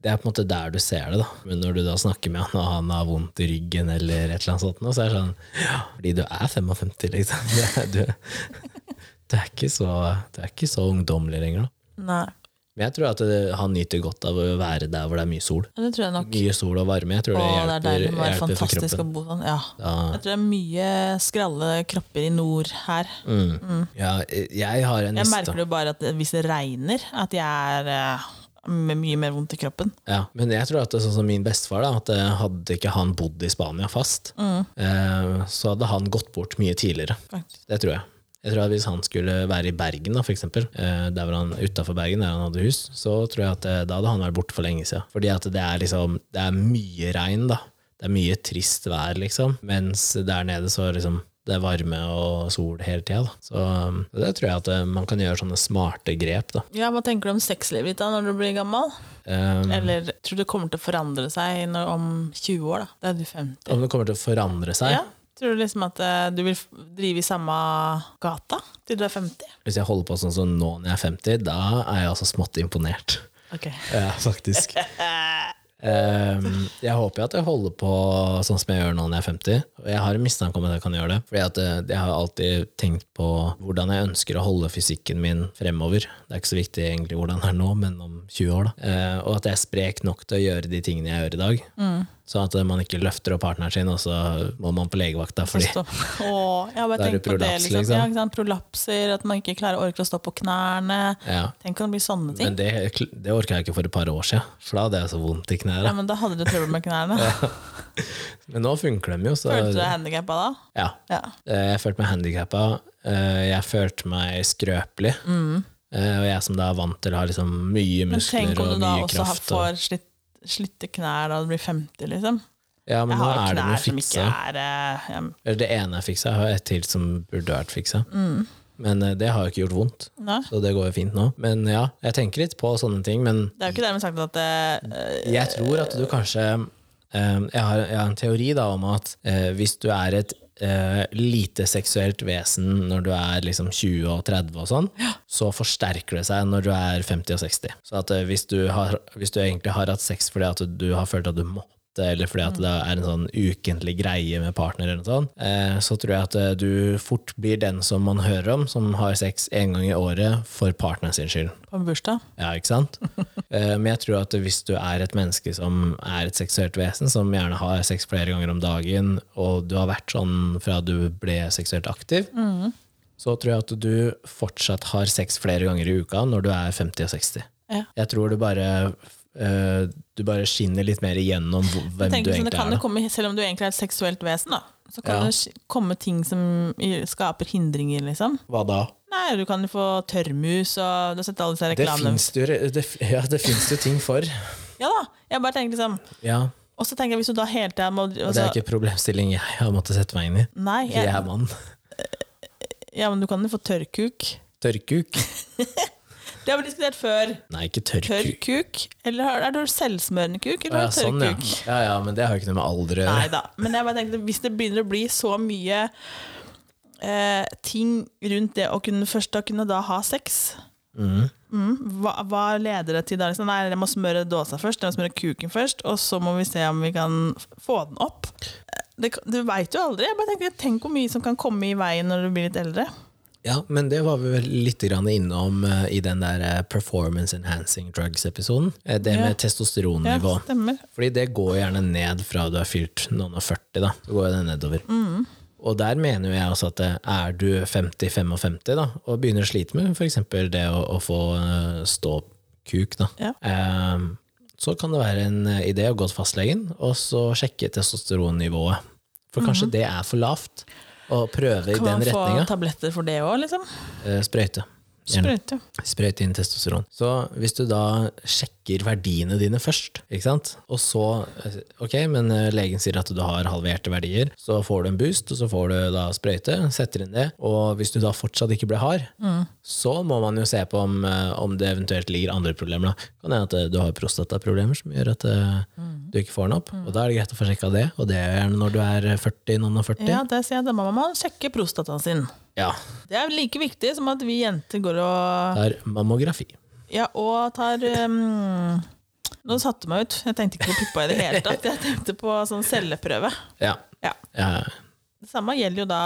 S1: det er på en måte der du ser det, da. Men når du da snakker med han, og han har vondt i ryggen eller et eller annet sånt, nå, så er det sånn ja, Fordi du er 55, liksom. Det er, du, du, er ikke så, du er ikke så ungdommelig lenger, da.
S2: Nei.
S1: Men jeg tror at det, han nyter godt av å være der hvor det er mye sol.
S2: Ja, det tror jeg nok.
S1: Mye sol og varme. Jeg tror
S2: Å,
S1: det
S2: det er
S1: hjelper,
S2: deilig. Det må være
S1: hjelper for
S2: fantastisk
S1: kroppen.
S2: å bo sånn. Ja.
S1: Da-
S2: Jeg tror det er mye skralle kropper i nord her.
S1: mm. Ja, jeg har en
S2: Mm. Jeg
S1: liste.
S2: merker det jo bare at hvis det regner, at jeg er eh, med mye mer vondt i kroppen.
S1: Ja, men jeg tror at det er sånn som min bestefar, da, at eh, hadde ikke han bodd i Spania fast, eh, så hadde han gått bort mye tidligere.
S2: faktisk.
S1: Det tror jeg. Jeg tror at Hvis han skulle være i Bergen, da, for eksempel, eh, der hvor han, utenfor Bergen, der han hadde hus, så tror jeg at eh, da hadde han vært borte for lenge siden. Fordi at det er, liksom, det er mye regn, da. Det er mye trist vær, liksom. Mens der nede så er liksom, det er varme og sol hele tida. da. Så um, det tror jeg at eh, man kan gjøre sånne smarte grep. da.
S2: Ja, Hva tenker du om sexlivet ditt da når du blir gammel?
S1: Um,
S2: Eller tror du det kommer til å forandre seg når, om 20 år? da? Da er du 50.
S1: om det kommer til å forandre seg.
S2: Ja. Tror du liksom at eh, du vil f- drive i samme gata til du er 50?
S1: Hvis jeg holder på sånn som nå når jeg er 50, da er jeg altså smått imponert.
S2: Ok.
S1: Ja, faktisk.
S2: Eh,
S1: Ehm, jeg håper jo at jeg holder på sånn som jeg gjør nå når jeg er 50. Og jeg har en mistanke om at jeg kan gjøre det. Fordi at eh, jeg har alltid tenkt på hvordan jeg ønsker å holde fysikken min fremover. Det er ikke så viktig egentlig hvordan det er nå, men om 20 år. da. Eh, og at jeg er sprek nok til å gjøre de tingene jeg gjør i dag. Sånn at man ikke løfter opp partneren sin, og så må man på legevakta fordi
S2: Stå. Åh, jeg har
S1: Da
S2: bare
S1: er det
S2: tenkt på det.
S1: prolaps,
S2: Liksom.
S1: liksom.
S2: Ja, ikke sant? Prolapser, at man ikke klarer orker å stå på knærne.
S1: ja.
S2: Tenk om det blir sånne ting.
S1: Men det, det orka jeg ikke for et par år siden, for da hadde jeg så vondt i knærne.
S2: ja, men da hadde du trøbbel med knærne.
S1: Men nå funker de jo, så
S2: Følte du deg handikappa da?
S1: ja.
S2: Ja.
S1: Eh, Jeg følte meg handikappa. eh, Jeg følte meg skrøpelig. Eh, Og jeg som da er vant til å ha liksom mye
S2: Mm. Men
S1: muskler
S2: tenk om
S1: og
S2: du da
S1: mye
S2: også har,
S1: kraft. Og,
S2: får slitt, slitte knær da du blir 50, liksom.
S1: ja, men
S2: Jeg
S1: nå
S2: har jo
S1: er det noe
S2: knær som ikke
S1: fiksa.
S2: er eh, ja,
S1: Eller det ene jeg fiksa, jeg har et til som burde vært fiksa.
S2: Mm.
S1: Men eh, det har jo ikke gjort vondt,
S2: Nei.
S1: så det går jo fint nå. Men ja, jeg tenker litt på sånne ting, men
S2: Det er jo ikke dermed sagt at eh,
S1: Jeg tror at du kanskje eh, jeg, har, jeg har en teori da om at eh, hvis du er et eh, lite seksuelt vesen når du er liksom 20 og 30 og sånn, så forsterker det seg når du er 50 og 60. Så at eh, hvis, du har, hvis du egentlig har hatt sex fordi at du har følt at du måtte, eller fordi at det er en sånn ukentlig greie med partner, eller noe sånt, eh, så tror jeg at eh, du fort blir den som man hører om, som har sex én gang i året for partneren sin skyld.
S2: på en bursdag
S1: Ja, ikke sant? Eh, Men jeg tror at hvis du er et menneske som er et seksuelt vesen, som gjerne har sex flere ganger om dagen, og du har vært sånn fra du ble seksuelt aktiv,
S2: Mm.
S1: så tror jeg at du fortsatt har sex flere ganger i uka når du er 50 og 60.
S2: Ja.
S1: Jeg tror du bare, eh, du bare skinner litt mer igjennom hvor- hvem
S2: Tenk
S1: du
S2: sånn, det
S1: egentlig
S2: kan
S1: er.
S2: jo
S1: Da.
S2: komme, Selv om du egentlig er et seksuelt vesen, da, så kan
S1: Ja.
S2: det sk- komme ting som i- skaper hindringer, liksom.
S1: Hva da?
S2: Nei, du kan jo få tørrmus og Du har sett alle disse
S1: Det
S2: reklamene.
S1: fins jo, det, f- ja, det finnes jo ting for.
S2: Ja da, jeg bare tenker liksom
S1: Ja,
S2: Og så tenker jeg hvis du da hele tida må
S1: og Det
S2: altså,
S1: er ikke problemstilling jeg har måttet sette meg inn i.
S2: Nei,
S1: Jeg er
S2: jeg,
S1: mann.
S2: ja, men du kan jo få tørrkuk.
S1: Tørrkuk?
S2: Det har vi diskutert før.
S1: Nei, ikke tørrkuk.
S2: Tørrkuk, eller har- er det selvsmørende kuk, eller
S1: Å,
S2: har du tørrkuk?
S1: ja. ja, ja, men det har jo ikke noe med alder å
S2: Nei
S1: gjøre.
S2: da. Men jeg bare tenkte, hvis det begynner å bli så mye eh, ting rundt det å kunne først å kunne da ha sex mm, hva, hva leder det til da? Liksom, nei, jeg må smøre dåsa først, jeg må smøre kuken først, og så må vi se om vi kan f- få den opp. Det, du veit jo aldri. Jeg bare tenkte, Tenk hvor mye som kan komme i veien når du blir litt eldre.
S1: Ja, men det var vi vel litt grann innom eh, i den der eh, performance enhancing drugs-episoden. Eh, Det med
S2: Ja. Ja,
S1: testosteronnivå.
S2: stemmer.
S1: Fordi det går gjerne ned fra du er fylt noen og 40, da. Så går det nedover. Og der mener jo jeg også at eh, er du 50-55 da, og begynner å slite med f.eks. det å, å få eh, ståkuk, da,
S2: Ja.
S1: eh, så kan det være en eh, idé å gå til fastlegen og så sjekke testosteronnivået. For kanskje det er for lavt, og prøve i
S2: Mhm. Kan
S1: den
S2: man få
S1: retninga.
S2: tabletter for det òg, liksom?
S1: Eh, sprøyte. Gjerne.
S2: Sprøyte.
S1: Sprøyte inn testosteron. Så hvis du da sjekker verdiene dine først, ikke sant? og så eh, Ok, men eh, legen sier at du har halverte verdier, så får du en boost, og så får du da sprøyte, setter inn det, og hvis du da fortsatt ikke blir hard, så må man jo se på om, eh, om det eventuelt ligger andre problemer. da. Kan hende at eh, du har prostataproblemer som gjør at eh, du ikke får den opp, og da er det greit å få sjekka det, og det er gjerne når du er 40, noen og 40.
S2: Ja, der sier jeg at mamma må sjekke prostataen sin.
S1: Ja.
S2: Det er like viktig som at vi jenter går og
S1: Det er mammografi.
S2: Ja, og tar um, Nå satte du meg ut. Jeg tenkte ikke på puppa i det hele tatt. Jeg tenkte på sånn celleprøve.
S1: Ja.
S2: Ja.
S1: Ja,
S2: Det samme gjelder jo da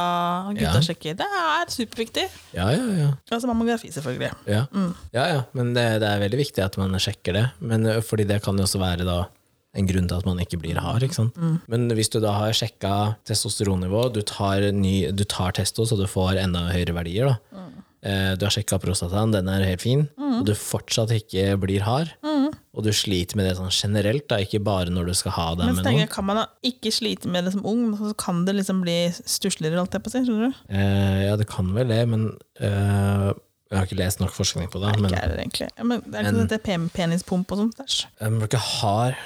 S2: gutta
S1: Ja.
S2: sjekker. Det er superviktig.
S1: ja, ja. ja.
S2: Altså mammografi, selvfølgelig.
S1: Ja,
S2: Mm.
S1: ja, ja. men det, det er veldig viktig at man sjekker det. Men, ø, fordi det kan jo også være da en grunn til at man ikke blir hard. Ikke sant?
S2: Mm.
S1: Men hvis du da har sjekka testosteronnivå, du tar, ny, du tar testo så du får enda høyere verdier, da.
S2: Mm.
S1: Eh, Du har sjekka prostataen, den er helt fin, og du fortsatt ikke blir hard.
S2: Mm.
S1: Og du sliter med det sånn generelt, da, ikke bare når du skal ha det
S2: Men så
S1: med
S2: tenker
S1: noen.
S2: jeg, kan man da ikke slite med det som ung, men så kan det liksom bli stussligere, holdt jeg på å si. Skjønner du?
S1: Eh, Ja, det kan vel det, men eh, jeg har ikke lest nok forskning på det. Men
S2: Ikke er det egentlig. Ja, men det er ikke sånn at det er pen- penispump og sånt. Æsj.
S1: eh, man blir ikke hard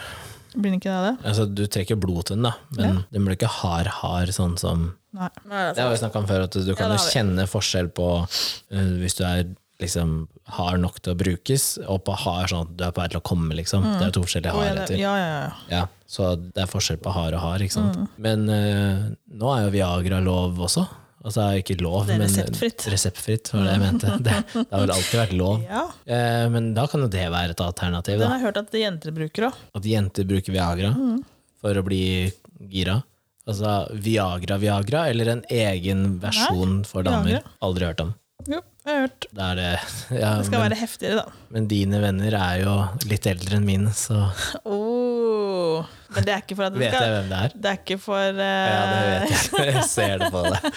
S2: Blir det ikke det av det?
S1: Altså, du trekker blod til den, da, men den blir ikke hard-hard, sånn som
S2: Nei.
S1: Det har vi snakka om før, at du kan jo
S2: det har vi.
S1: kjenne forskjell på eh, hvis du er liksom hard nok til å brukes, og på hard sånn at du er på vei til å komme, liksom. Det er jo to forskjellige
S2: Å, Mm. ja, det-
S1: hardheter.
S2: ja, ja, ja.
S1: Ja, så det er forskjell på hard og hard, ikke
S2: Mm.
S1: sant. Men eh, nå er jo Viagra lov også. Altså ikke lov,
S2: Det er
S1: men
S2: reseptfritt.
S1: Reseptfritt, var det jeg mente. Det, det har vel alltid vært lov.
S2: Ja,
S1: Eh, men da kan jo det være et alternativ, da.
S2: den har jeg hørt at jenter bruker òg.
S1: At jenter bruker Viagra for å bli gira. Altså Viagra-Viagra, eller en egen versjon for damer.
S2: Viagra.
S1: Aldri hørt om.
S2: Jo, jeg har hørt.
S1: Det er det. Ja,
S2: Det skal
S1: men,
S2: være heftigere, da.
S1: men dine venner er jo litt eldre enn mine, så
S2: Oh, men det er ikke for at det
S1: vet jeg
S2: skal
S1: hvem det er.
S2: Det er ikke for eh,
S1: Ja, det vet jeg. Jeg ser det på deg.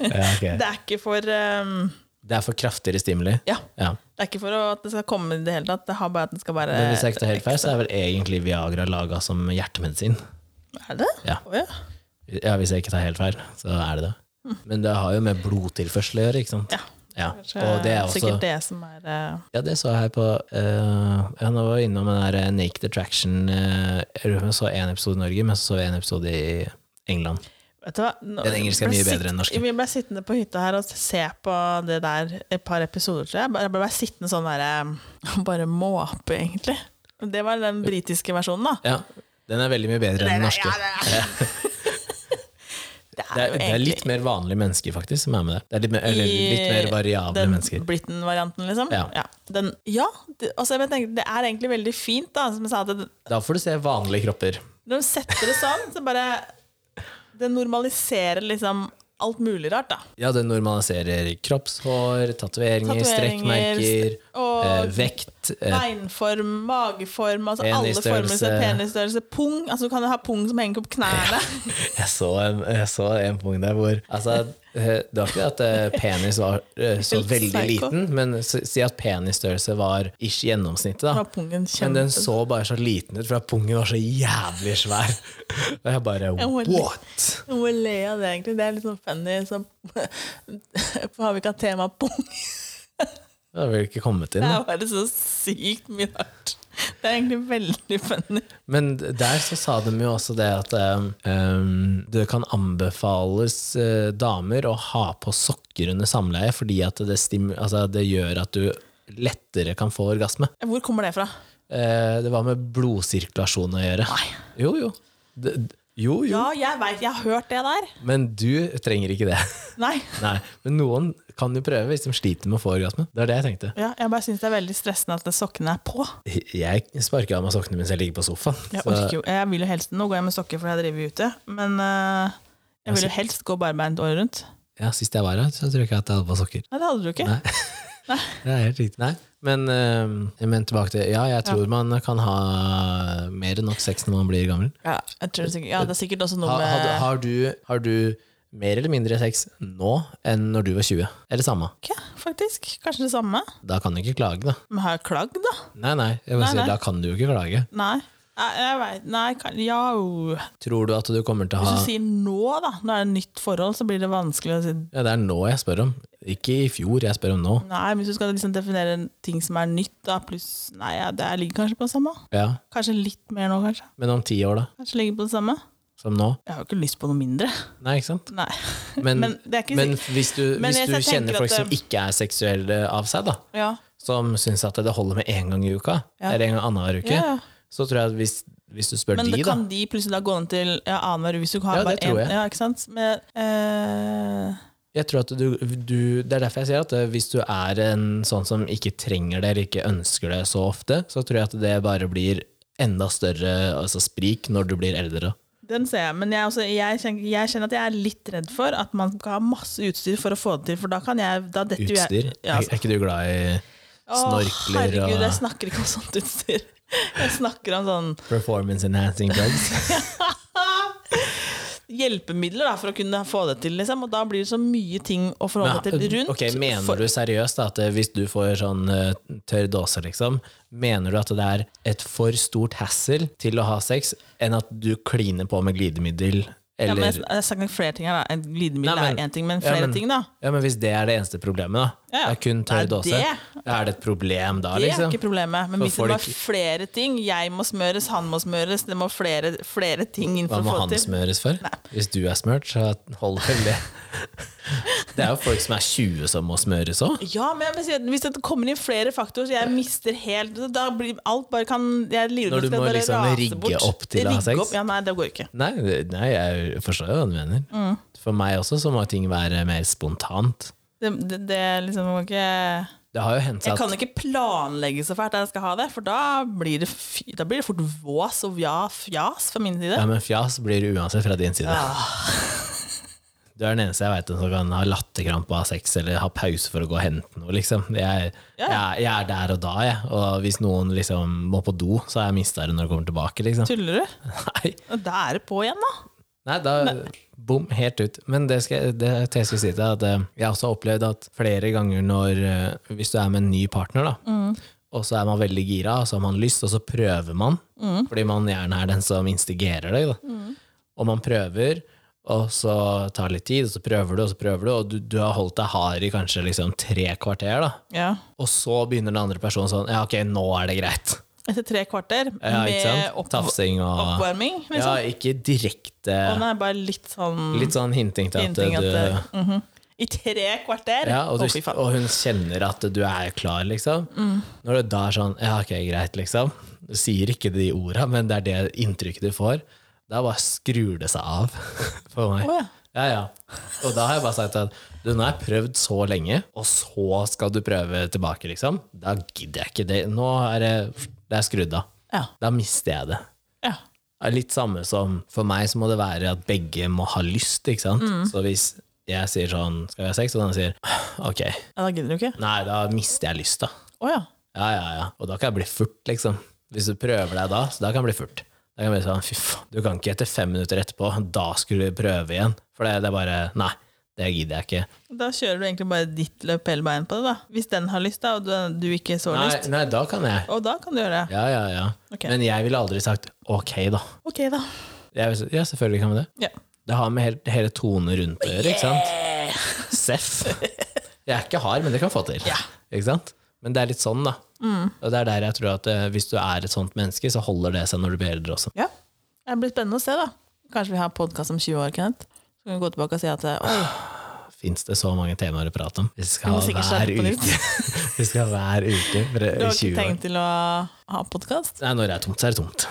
S1: Ja, ok.
S2: Det er ikke for eh,
S1: Det er for kraftigere stimuli.
S2: Ja.
S1: Ja.
S2: Det er ikke for å, at det skal komme i det hele tatt. Det har bare at det skal være
S1: Men hvis jeg ikke tar helt feil, så er vel egentlig Viagra laga som hjertemedisin.
S2: Er det?
S1: Ja.
S2: Å, ja.
S1: Ja, hvis jeg ikke tar helt feil, så er det det. Men det har jo med blodtilførsel å gjøre, ikke sant.
S2: Hm. Ja.
S1: Ja.
S2: Kanskje
S1: Og det er også
S2: sikkert det som er eh,
S1: Ja, det så jeg her på eh, ja, Nå var jeg innom den der eh, Naked Attraction eh, Jeg lurer på om jeg så én episode i Norge, men så så jeg en episode i England.
S2: Vet du hva? Nå-
S1: Den engelske er mye
S2: jeg ble sitt-
S1: bedre enn norske.
S2: Vi ble sittende på hytta her og se på det der et par episoder, tror jeg. Bare- Jeg ble bare sittende sånn derre Bare måpe, egentlig. Og Det var den britiske versjonen, da.
S1: Ja, Den er veldig mye bedre enn den norske.
S2: Ja, det er, det
S1: Det er, det er litt mer vanlige mennesker faktisk som er med det. Det er litt mer, eller, litt mer variable
S2: den
S1: mennesker.
S2: Britain-varianten, liksom.
S1: Ja.
S2: den, ja det, altså, jeg tenker, det er egentlig veldig fint, da, som jeg sa, at det,
S1: Da får du se vanlige kropper.
S2: når de setter det sånn, så bare Det normaliserer liksom alt mulig rart, da.
S1: Ja, det normaliserer kroppshår, tatoveringer,
S2: Tatoveringer,
S1: strekkmerker,
S2: og-
S1: eh, vekt eh,
S2: Beinform, mageform, altså alle
S1: Penisstørrelse.
S2: former. så Penisstørrelse, pung. Altså, du kan jo ha pung som henger opp knærne.
S1: jeg, så en, jeg så en punkt der hvor altså, eh, Det var ikke at eh, penis var eh, så
S2: Helt
S1: veldig
S2: psycho.
S1: liten, men s- si at penisstørrelse var ish gjennomsnittet,
S2: Da
S1: da.
S2: var pungen
S1: Men den
S2: kjempe...
S1: så bare så liten ut, for at pungen var så jævlig svær. Og jeg bare
S2: må-
S1: what?!
S2: Jeg må le av det, egentlig. Det er litt sånn funny. Så har vi ikke hatt tema pung.
S1: Det har vel ikke kommet inn.
S2: Det
S1: Da.
S2: er bare så sykt mye rart. Det er egentlig veldig funny.
S1: Men der så sa de jo også det at ehm, det kan anbefales eh, damer å ha på sokker under samleie, fordi at det, stim altså, det gjør at du lettere kan få orgasme.
S2: Hvor kommer det fra?
S1: Eh, det var med blodsirkulasjon å gjøre. Jo, jo. Det- d- jo, jo.
S2: Ja, jeg veit, jeg har hørt det der.
S1: Men du trenger ikke det.
S2: Nei.
S1: Nei. Men noen kan jo prøve hvis de sliter med å få orgasme. Det er det jeg tenkte.
S2: Ja, jeg bare syns det er veldig stressende at det sokkene er på.
S1: Jeg sparker av meg sokkene mens jeg ligger på sofaen.
S2: Jeg,
S1: så-
S2: orker jo, jeg vil jo helst Nå går jeg med sokker fordi jeg driver ute, men øh, jeg vil jo helst gå barbeint året rundt.
S1: ja, sist jeg var her, så tror jeg ikke at jeg hadde på sokker.
S2: Nei, det hadde du ikke.
S1: Nei. Det er helt riktig. Nei. Men, eh, men tilbake til Ja, jeg tror man kan ha mer enn nok sex når man blir gammel.
S2: Ja, jeg tror det, sikkert, ja, det er sikkert også noe
S1: Ha, har,
S2: med
S1: du- har, du, har du mer eller mindre sex nå enn når du var 20? Eller samme?
S2: Ok, faktisk. Kanskje det samme.
S1: Da kan du ikke klage, da.
S2: Men har jeg klagd, da?
S1: Nei, nei. Jeg vil
S2: Nei,
S1: si,
S2: nei.
S1: Da kan du jo ikke klage.
S2: Nei. Nei, jeg vet, nei, kan, ja jo.
S1: Tror du at du kommer til å
S2: Hvis
S1: ha
S2: du sier nå, da, når det er et nytt forhold, så blir det vanskelig å si
S1: ja, Det er nå jeg spør om. Ikke i fjor, jeg spør om nå.
S2: Nei, men hvis du skal liksom definere en ting som er nytt, da, pluss Nei, ja, det ligger kanskje på det samme.
S1: Ja,
S2: Kanskje litt mer nå, kanskje.
S1: Men om ti år, da?
S2: Kanskje ligger på det samme.
S1: Som nå?
S2: Jeg har jo ikke lyst på noe mindre.
S1: Nei, ikke sant?
S2: Nei.
S1: Men, men,
S2: Men det er ikke
S1: hvis du,
S2: Men jeg-
S1: hvis du
S2: jeg tenker
S1: kjenner folk
S2: at,
S1: som ikke er seksuelle av seg, da,
S2: Ja.
S1: som syns at det holder med én gang i uka,
S2: Ja.
S1: eller en gang annenhver uke,
S2: ja, ja.
S1: så tror jeg at hvis, hvis du spør
S2: Men
S1: de,
S2: det
S1: da
S2: kan de plutselig da gå ned til ja, annenhver hvis du har
S1: Ja,
S2: bare
S1: det tror
S2: en-
S1: jeg.
S2: Ja, ikke sant? Men, eh,
S1: Jeg tror at du, du, Det er derfor jeg sier at eh, hvis du er en sånn som ikke trenger det eller ikke ønsker det så ofte, så tror jeg at det bare blir enda større altså sprik når du blir eldre.
S2: den ser jeg, men jeg, er også, jeg, kjenner, jeg kjenner at jeg er litt redd for at man skal ha masse utstyr for å få det til, for da kan jeg da detter jo
S1: Utstyr.
S2: Jeg, ja, altså.
S1: Er, er ikke du glad i
S2: Å,
S1: snorkler
S2: herregud, jeg
S1: og
S2: snakker ikke om sånt utstyr. Jeg snakker om sånn
S1: performance enhancing drugs?
S2: hjelpemidler da, for å kunne få det til, liksom. Og da blir det så mye ting å forholde deg til rundt.
S1: ok, mener
S2: for,
S1: du seriøst da, at eh, hvis du får sånn eh, tørr dåse, liksom, mener du at det er et for stort hassle til å ha sex enn at du kliner på med glidemiddel?
S2: ja,
S1: Eller,
S2: men jeg, jeg har sagt flere ting her, da. En glidemiddel
S1: Nei, men-
S2: er én ting, men
S1: ja,
S2: flere
S1: men-
S2: ting, da.
S1: Ja, men hvis det er det eneste problemet, da.
S2: Ja.
S1: Det er kun tørr
S2: Nei,
S1: dåse.
S2: det-
S1: Er det et problem da,
S2: Det er
S1: liksom?
S2: ikke problemet. Men
S1: For
S2: hvis det var
S1: folk-
S2: flere ting, jeg må smøres, han må smøres, det må flere, flere ting inn
S1: Hva
S2: for
S1: må
S2: å få
S1: han
S2: det til.
S1: smøres for? Hvis du er smørt, så holder vel det. Det er jo folk som er 20 som må smøres òg.
S2: Ja, men jeg vil si at hvis det kommer inn flere faktorer, så jeg mister helt Da blir alt bare kan Jeg lirer
S1: Når du
S2: meg til
S1: må
S2: at det
S1: liksom
S2: raser
S1: rigge
S2: bort.
S1: opp til å ha
S2: Rigge
S1: sex?
S2: opp, Ja, nei, det går ikke.
S1: Nei, det- nei, jeg forstår jo hva du mener.
S2: Mm.
S1: For meg også så må ting være mer spontant.
S2: Det, det, det liksom går ikke
S1: Det har jo hendt seg
S2: Jeg kan
S1: at
S2: ikke planlegge så fælt at jeg skal ha det, for da blir det, fy- da blir det fort vås og ja, fjas fra min side.
S1: ja, men fjas blir det uansett fra din side. Du er den eneste jeg veit som kan ha latterkrampe og ha sex eller ha pause for å gå og hente noe. Liksom. Jeg,
S2: Ja.
S1: jeg, jeg er der og da, jeg. Og hvis noen liksom må på do, så har jeg mista det når det kommer tilbake. Liksom.
S2: Tuller du?
S1: Nei.
S2: Og Da er det på igjen, da.
S1: Nei, da bom, helt ut. Men det, skal, jeg- det jeg skal si til deg, at eh, jeg har også opplevd at flere ganger når eh, Hvis du er med en ny partner, da,
S2: Mm.
S1: og så er man veldig gira, og så har man lyst, og så prøver man,
S2: Mm.
S1: fordi man gjerne er den som instigerer deg, da. og man prøver, og så tar det litt tid, og så prøver du, og så prøver du, og du, du har holdt deg hard i kanskje liksom tre kvarter, da.
S2: Ja.
S1: Og så begynner den andre personen sånn Ja, ok, nå er det greit.
S2: Etter tre kvarter
S1: Ja, ikke
S2: med
S1: sant?
S2: opp
S1: Tafsing og
S2: oppvarming,
S1: Ja,
S2: liksom.
S1: ikke direkte
S2: Og nei, bare litt sånn
S1: Litt sånn hinting til at
S2: Ingenting at
S1: du
S2: det- mhm. I tre kvarter?
S1: ja, og,
S2: Å,
S1: du,
S2: fy faen. Mm.
S1: og hun kjenner at du er klar, liksom. Når det da er sånn Ja, ok, greit, liksom. Du sier ikke de orda, men det er det inntrykket du får. Da bare skrur det seg av for meg.
S2: Å, ja.
S1: Ja, ja. Og da har jeg bare sagt at du, nå har jeg prøvd så lenge, og så skal du prøve tilbake, liksom. Da gidder jeg ikke det. Nå er det, det er skrudd av.
S2: Ja.
S1: Da mister jeg det.
S2: ja.
S1: Det er litt samme som For meg så må det være at begge må ha lyst, ikke sant.
S2: Mm.
S1: Så hvis jeg sier sånn Skal vi ha sex? Og den sier ok.
S2: ja da gidder du ikke?
S1: Nei, da mister jeg lyst, da.
S2: Å ja.
S1: Ja, ja, ja. Og da kan jeg bli furt, liksom. Hvis du prøver deg da, så da kan jeg bli furt. Da kan jeg bli sånn, fy faen, du kan ikke etter fem minutter etterpå, da skulle du prøve igjen. For det, det er bare, nei, det gidder jeg ikke.
S2: Da kjører du egentlig bare ditt løp hele veien på det, da. Hvis den har lyst, da, og du, du ikke så
S1: Nei,
S2: lyst.
S1: nei, da kan jeg.
S2: Og da kan du gjøre det.
S1: Ja, ja, ja.
S2: Ok.
S1: Men jeg ville aldri sagt, ok da.
S2: Ok, da.
S1: Jeg, vil si, ja, selvfølgelig kan vi det.
S2: Ja.
S1: Det har med hele, hele tonen rundt å gjøre, ikke sant? Seff. Jeg er ikke hard, men det kan få til.
S2: Ja.
S1: Ikke sant? Men det er litt sånn, da. Og det er der jeg tror at eh, hvis du er et sånt menneske, så holder det seg når du blir eldre også.
S2: ja. Det blir spennende å se, da. Kanskje vi har podkast om 20 år, Kenneth. Så kan vi gå tilbake og si at oi,
S1: Ah, Fins det så mange temaer å prate om? Vi skal
S2: Vi må
S1: ha
S2: sikkert
S1: hver
S2: starte på nytt.
S1: uke. Vi skal ha hver uke for
S2: du
S1: 20
S2: har ikke
S1: år.
S2: tenkt til å ha podkast?
S1: Nei, når det er tomt, så er det tomt.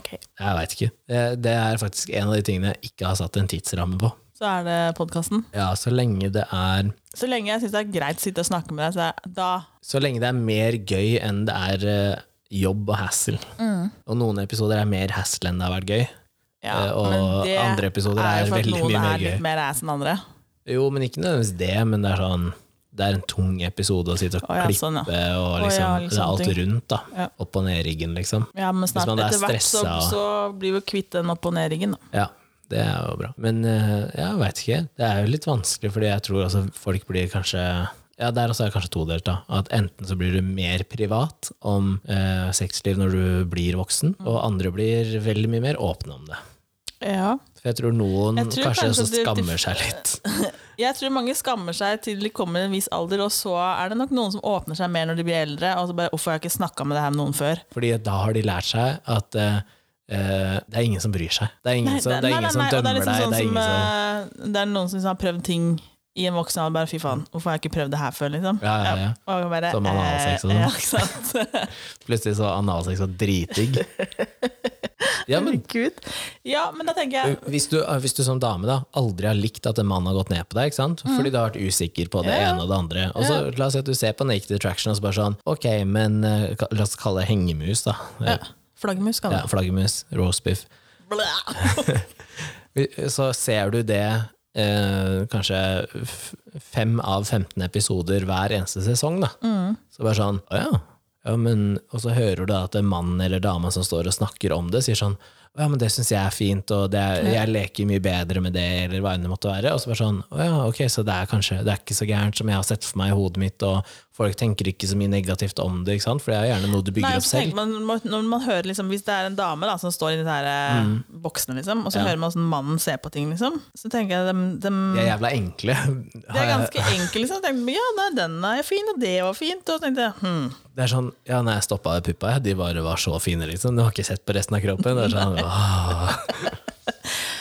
S2: Ok.
S1: Jeg veit ikke. Det, det er faktisk en av de tingene jeg ikke har satt en tidsramme på.
S2: Så er det podkasten.
S1: Ja, så lenge det er
S2: Så lenge jeg syns det er greit å sitte og snakke med deg, så er, da
S1: Så lenge det er mer gøy enn det er eh, jobb og hassle.
S2: Mm.
S1: Og noen episoder er mer hassle enn det har vært gøy.
S2: ja,
S1: Eh, og
S2: men det
S1: andre episoder er
S2: jo for at
S1: veldig
S2: noen
S1: mye mer
S2: er litt
S1: gøy.
S2: mer ass enn andre.
S1: Jo, men ikke nødvendigvis det, men det er sånn det er en tung episode å sitte og
S2: Å ja,
S1: klippe
S2: sånn, ja.
S1: og
S2: Å
S1: liksom, det
S2: ja,
S1: er
S2: liksom
S1: alt
S2: ting.
S1: rundt. da
S2: Ja.
S1: Opp og ned i ryggen, liksom.
S2: Ja, men snart
S1: man er
S2: etter hvert så,
S1: stressa og-
S2: så blir vi kvitt den opp- og nedriggen. da.
S1: Ja, det er jo bra. Men eh, jeg veit ikke. Det er jo litt vanskelig, fordi jeg tror altså folk blir kanskje ja, Der også er det kanskje todelt. da, at Enten så blir du mer privat om eh, sexliv når du blir voksen,
S2: Mm.
S1: og andre blir veldig mye mer åpne om det.
S2: Ja.
S1: For jeg tror noen
S2: Jeg tror
S1: kanskje,
S2: kanskje
S1: også
S2: det-
S1: skammer seg litt.
S2: Jeg tror mange skammer seg til de kommer i en viss alder, og så er det nok noen som åpner seg mer når de blir eldre. Og så bare 'Hvorfor har jeg ikke snakka med det her med noen før?'
S1: Fordi da har de lært seg at eh, eh, det er ingen som bryr seg. Det er ingen som, det er ingen som
S2: og det
S1: dømmer
S2: er liksom
S1: deg.
S2: sånn
S1: det er
S2: som,
S1: ingen som...
S2: eh, det er noen som liksom har prøvd ting i en voksen alder. Bare 'fy faen, hvorfor har jeg ikke prøvd det her før?' liksom.
S1: Ja, ja, ja.
S2: Og jeg bare,
S1: Som analsex og sånn.
S2: eh, Ja, ikke sant.
S1: Plutselig så er analsex og dritdigg. Ja, men
S2: Herregud. Ja, men da tenker jeg
S1: hvis du, hvis du som dame da aldri har likt at en mann har gått ned på deg, ikke sant? fordi du har vært usikker på det
S2: Mm. Ja.
S1: ene og det andre Og så La oss si at du ser på Naked Attraction og så bare sånn Ok, men eh, ka- la oss kalle det hengemus, da.
S2: ja, Flaggermus kan
S1: Ja,
S2: det.
S1: flaggermus, roastbiff.
S2: Blæ!
S1: Så ser du det eh, kanskje f- fem av 15 episoder hver eneste sesong, da.
S2: Mm.
S1: Så bare sånn, å ja. ja men, og så hører du da at det er mannen eller dama som står og snakker om det, sier sånn å ja, men det syns jeg er fint, og det er, jeg leker mye bedre med det, eller hva enn det måtte være. Og så bare sånn, å ja, ok, så det er kanskje det er ikke så gærent som jeg har sett for meg i hodet mitt, og folk tenker ikke så mye negativt om det, ikke sant, for det er gjerne noe du bygger
S2: Nei,
S1: opp
S2: så tenker
S1: selv.
S2: man, må- når man hører liksom, Hvis det er en dame da, som står i disse her, eh, boksene, liksom, og så
S1: Mm. Ja.
S2: hører man hvordan mannen ser på ting, liksom, så tenker jeg dem, dem,
S1: De er jævla enkle.
S2: Det er ganske enkelt. Liksom. Jeg tenkte, ja, nei, den er fin, og det var fint. Og så tenkte jeg, hm.
S1: Det er sånn, ja, når jeg stoppa puppa, jeg, de bare var så fine, liksom. Du har ikke sett på resten av kroppen. Det er sånn, åh.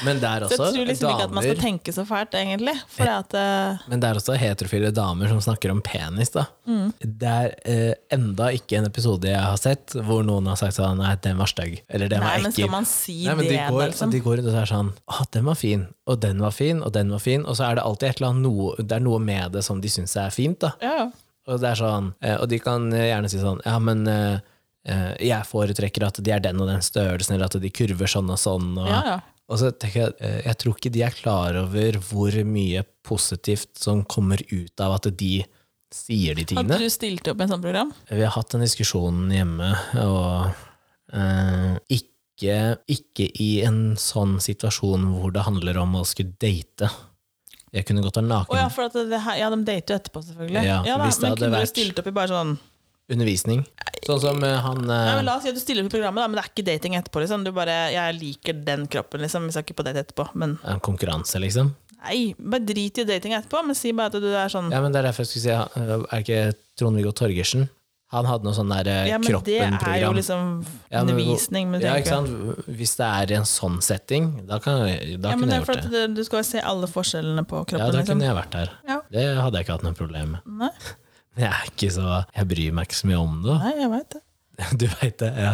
S1: Men det er
S2: Så jeg
S1: også
S2: tror liksom ikke at man skal
S1: Altså, damer
S2: tenke så fælt, egentlig. For det at, eh,
S1: Men det er også heterofile damer som snakker om penis, da.
S2: Mm.
S1: Det er eh, enda ikke en episode jeg har sett hvor noen har sagt sånn Nei, den var stygg. Eller den
S2: nei,
S1: var
S2: men skal
S1: ekkel.
S2: man si
S1: Nei, men
S2: det,
S1: de går,
S2: da, liksom?
S1: de går rundt og så er sånn Å, den var fin, og den var fin, og den var fin. Og så er det alltid et eller annet noe, det er noe med det som de syns er fint, da.
S2: Ja, ja.
S1: Og, det er sånn, eh, og de kan gjerne si sånn Ja, men eh, eh, jeg foretrekker at de er den og den størrelsen, eller at de kurver sånn og sånn. Og,
S2: Ja, ja.
S1: og så tenker jeg eh, Jeg tror ikke de er klar over hvor mye positivt som kommer ut av at de sier de
S2: At
S1: tingene.
S2: du stilte opp i et sånt program?
S1: Vi har hatt den diskusjonen hjemme, og eh, ikke, ikke i en sånn situasjon hvor det handler om å skulle date. Jeg kunne godt ha
S2: Å ja,
S1: naken
S2: for at det her, ja, de dater jo etterpå, selvfølgelig.
S1: Ja,
S2: da,
S1: hvis det
S2: men
S1: hadde
S2: kunne
S1: vært-
S2: du stilt opp i bare sånn
S1: undervisning. Sånn som eh, han
S2: Nei,
S1: eh,
S2: men La oss si at du stiller opp i programmet, da, men det er ikke dating etterpå. liksom. Du bare, 'Jeg liker den kroppen', liksom. Vi skal ikke på date etterpå. Men
S1: eh, en konkurranse, liksom.
S2: nei, bare drit i dating etterpå, men si bare at du er sånn
S1: Ja, men det er derfor jeg skulle si ja, Er ikke Trond-Viggo Torgersen? Han hadde noe sånn der eh,
S2: Ja, men det er jo
S1: kroppen-program.
S2: liksom
S1: Ja, men hvor-
S2: undervisning. Men,
S1: Ja,
S2: tenker
S1: ikke
S2: jeg.
S1: sant? Hvis det er i en sånn setting, da, kan, jeg- da
S2: Ja, men
S1: kunne jeg
S2: det er for
S1: gjort
S2: at
S1: det.
S2: du, du skal se alle forskjellene på
S1: Ja,
S2: kroppen.
S1: da
S2: liksom.
S1: kunne jeg vært der.
S2: Ja.
S1: Det hadde jeg ikke hatt noe problem med.
S2: Nei,
S1: Jeg er ikke så Jeg bryr meg ikke så mye om det.
S2: nei, jeg veit det.
S1: Du veit det? Ja.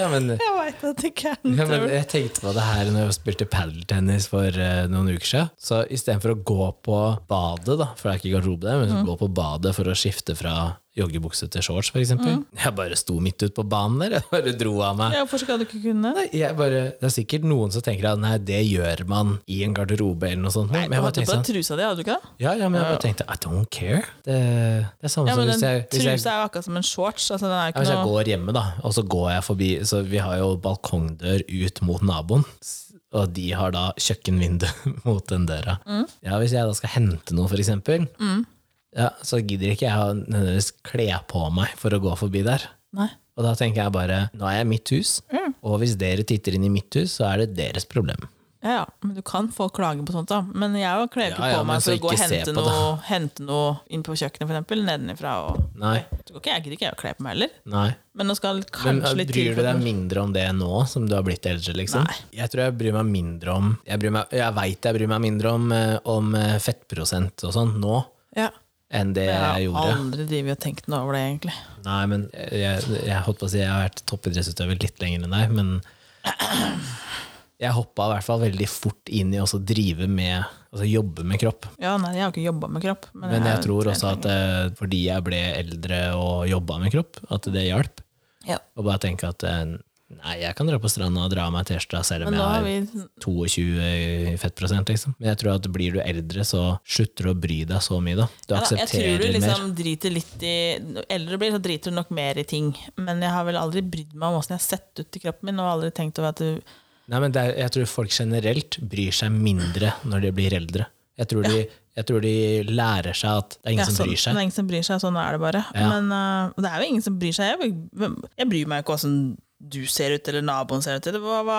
S1: Ja, men,
S2: Jeg vet at det ikke er
S1: ja,
S2: noe
S1: men
S2: tull.
S1: jeg tenkte på det her når jeg spilte padeltennis for eh, noen uker siden. Så istedenfor å gå på badet, da, for det er ikke garderobe der,
S2: Mm.
S1: men gå på badet for å skifte fra joggebukse til shorts, f.eks.
S2: Mm.
S1: eksempel Jeg bare sto midt ute på banen der. Jeg bare dro av meg
S2: Ja, Hvorfor skal du ikke kunne?
S1: Nei, jeg bare, det er sikkert noen som tenker at nei, det gjør man i en garderobe eller noe sånt. men jeg
S2: Du
S1: bare
S2: hadde på
S1: tenkte
S2: deg
S1: sånn,
S2: trusa di, hadde du ikke det?
S1: ja, ja, men jeg bare tenkte I don't care. Det, det er samme
S2: Ja,
S1: som
S2: men
S1: hvis
S2: den
S1: jeg, hvis jeg,
S2: Trusa er jo akkurat som en shorts. altså den er
S1: ja,
S2: jo
S1: hvis
S2: ikke
S1: jeg
S2: noe...
S1: går hjemme, da, og så går jeg forbi Så vi har jo balkongdør ut mot naboen. s- Og de har da kjøkkenvindu mot den døra. Ja, Hvis jeg da skal hente noe, for eksempel, ja, så gidder ikke jeg å nødvendigvis kle på meg for å gå forbi der.
S2: Nei.
S1: Og da tenker jeg bare nå er jeg i mitt hus, og hvis dere titter inn i mitt hus, så er det deres problem.
S2: Ja, ja, men du kan få klage på sånt, da. Men jeg kler jo ikke
S1: Ja, ja,
S2: på
S1: men
S2: meg for
S1: så
S2: å gå og
S1: ikke se
S2: hente
S1: på det.
S2: noe, hente noe inn på kjøkkenet, for eksempel, nedenifra. Og...
S1: Nei.
S2: Så går ikke jeg gidder ikke jeg å kle på meg heller.
S1: Nei.
S2: Men nå skal
S1: Men
S2: kanskje litt
S1: bryr
S2: tid
S1: du
S2: for
S1: deg
S2: det.
S1: mindre om det nå som du har blitt eldre? liksom?
S2: Nei.
S1: Jeg tror jeg bryr meg mindre om Jeg, bryr meg, jeg veit jeg bryr meg mindre om, eh, om eh, fettprosent og sånn nå
S2: Ja.
S1: enn det
S2: Jeg
S1: jeg
S2: har
S1: gjorde.
S2: aldri drevet og tenkt noe over det, egentlig.
S1: Nei, men jeg, jeg, jeg holdt på å si jeg har vært toppidrettsutøver litt lenger enn deg, men jeg hoppa i hvert fall veldig fort inn i også å drive med Altså jobbe med kropp.
S2: Ja, nei, jeg har ikke jobba med kropp. Men,
S1: Men jeg
S2: er-
S1: tror også at eh, fordi jeg ble eldre og jobba med kropp, at det hjalp.
S2: Ja.
S1: Og bare tenke at eh, nei, jeg kan dra på stranda og dra av meg T-skjorta selv om
S2: Men nå
S1: jeg
S2: har
S1: har
S2: vi
S1: 22 i fettprosent, liksom. Men jeg tror at blir du eldre, så slutter du å bry deg så mye, da. Du
S2: ja, da, Jeg
S1: aksepterer
S2: tror du
S1: mer.
S2: liksom driter litt i når Eldre blir, så driter du nok mer i ting. Men jeg har vel aldri brydd meg om åssen jeg har sett ut i kroppen min, og aldri tenkt over at du
S1: Nei, men det er, jeg tror folk generelt bryr seg mindre når de blir eldre. Jeg tror de, jeg tror de lærer seg at det er
S2: Ja,
S1: ingen som
S2: sånn-
S1: bryr
S2: Det
S1: seg.
S2: er ingen som bryr seg, sånn er det bare.
S1: Ja.
S2: Men øh, det er jo ingen som bryr seg. Jeg, hvem- jeg bryr meg ikke åssen du ser ut, eller naboen ser ut, eller hva, hva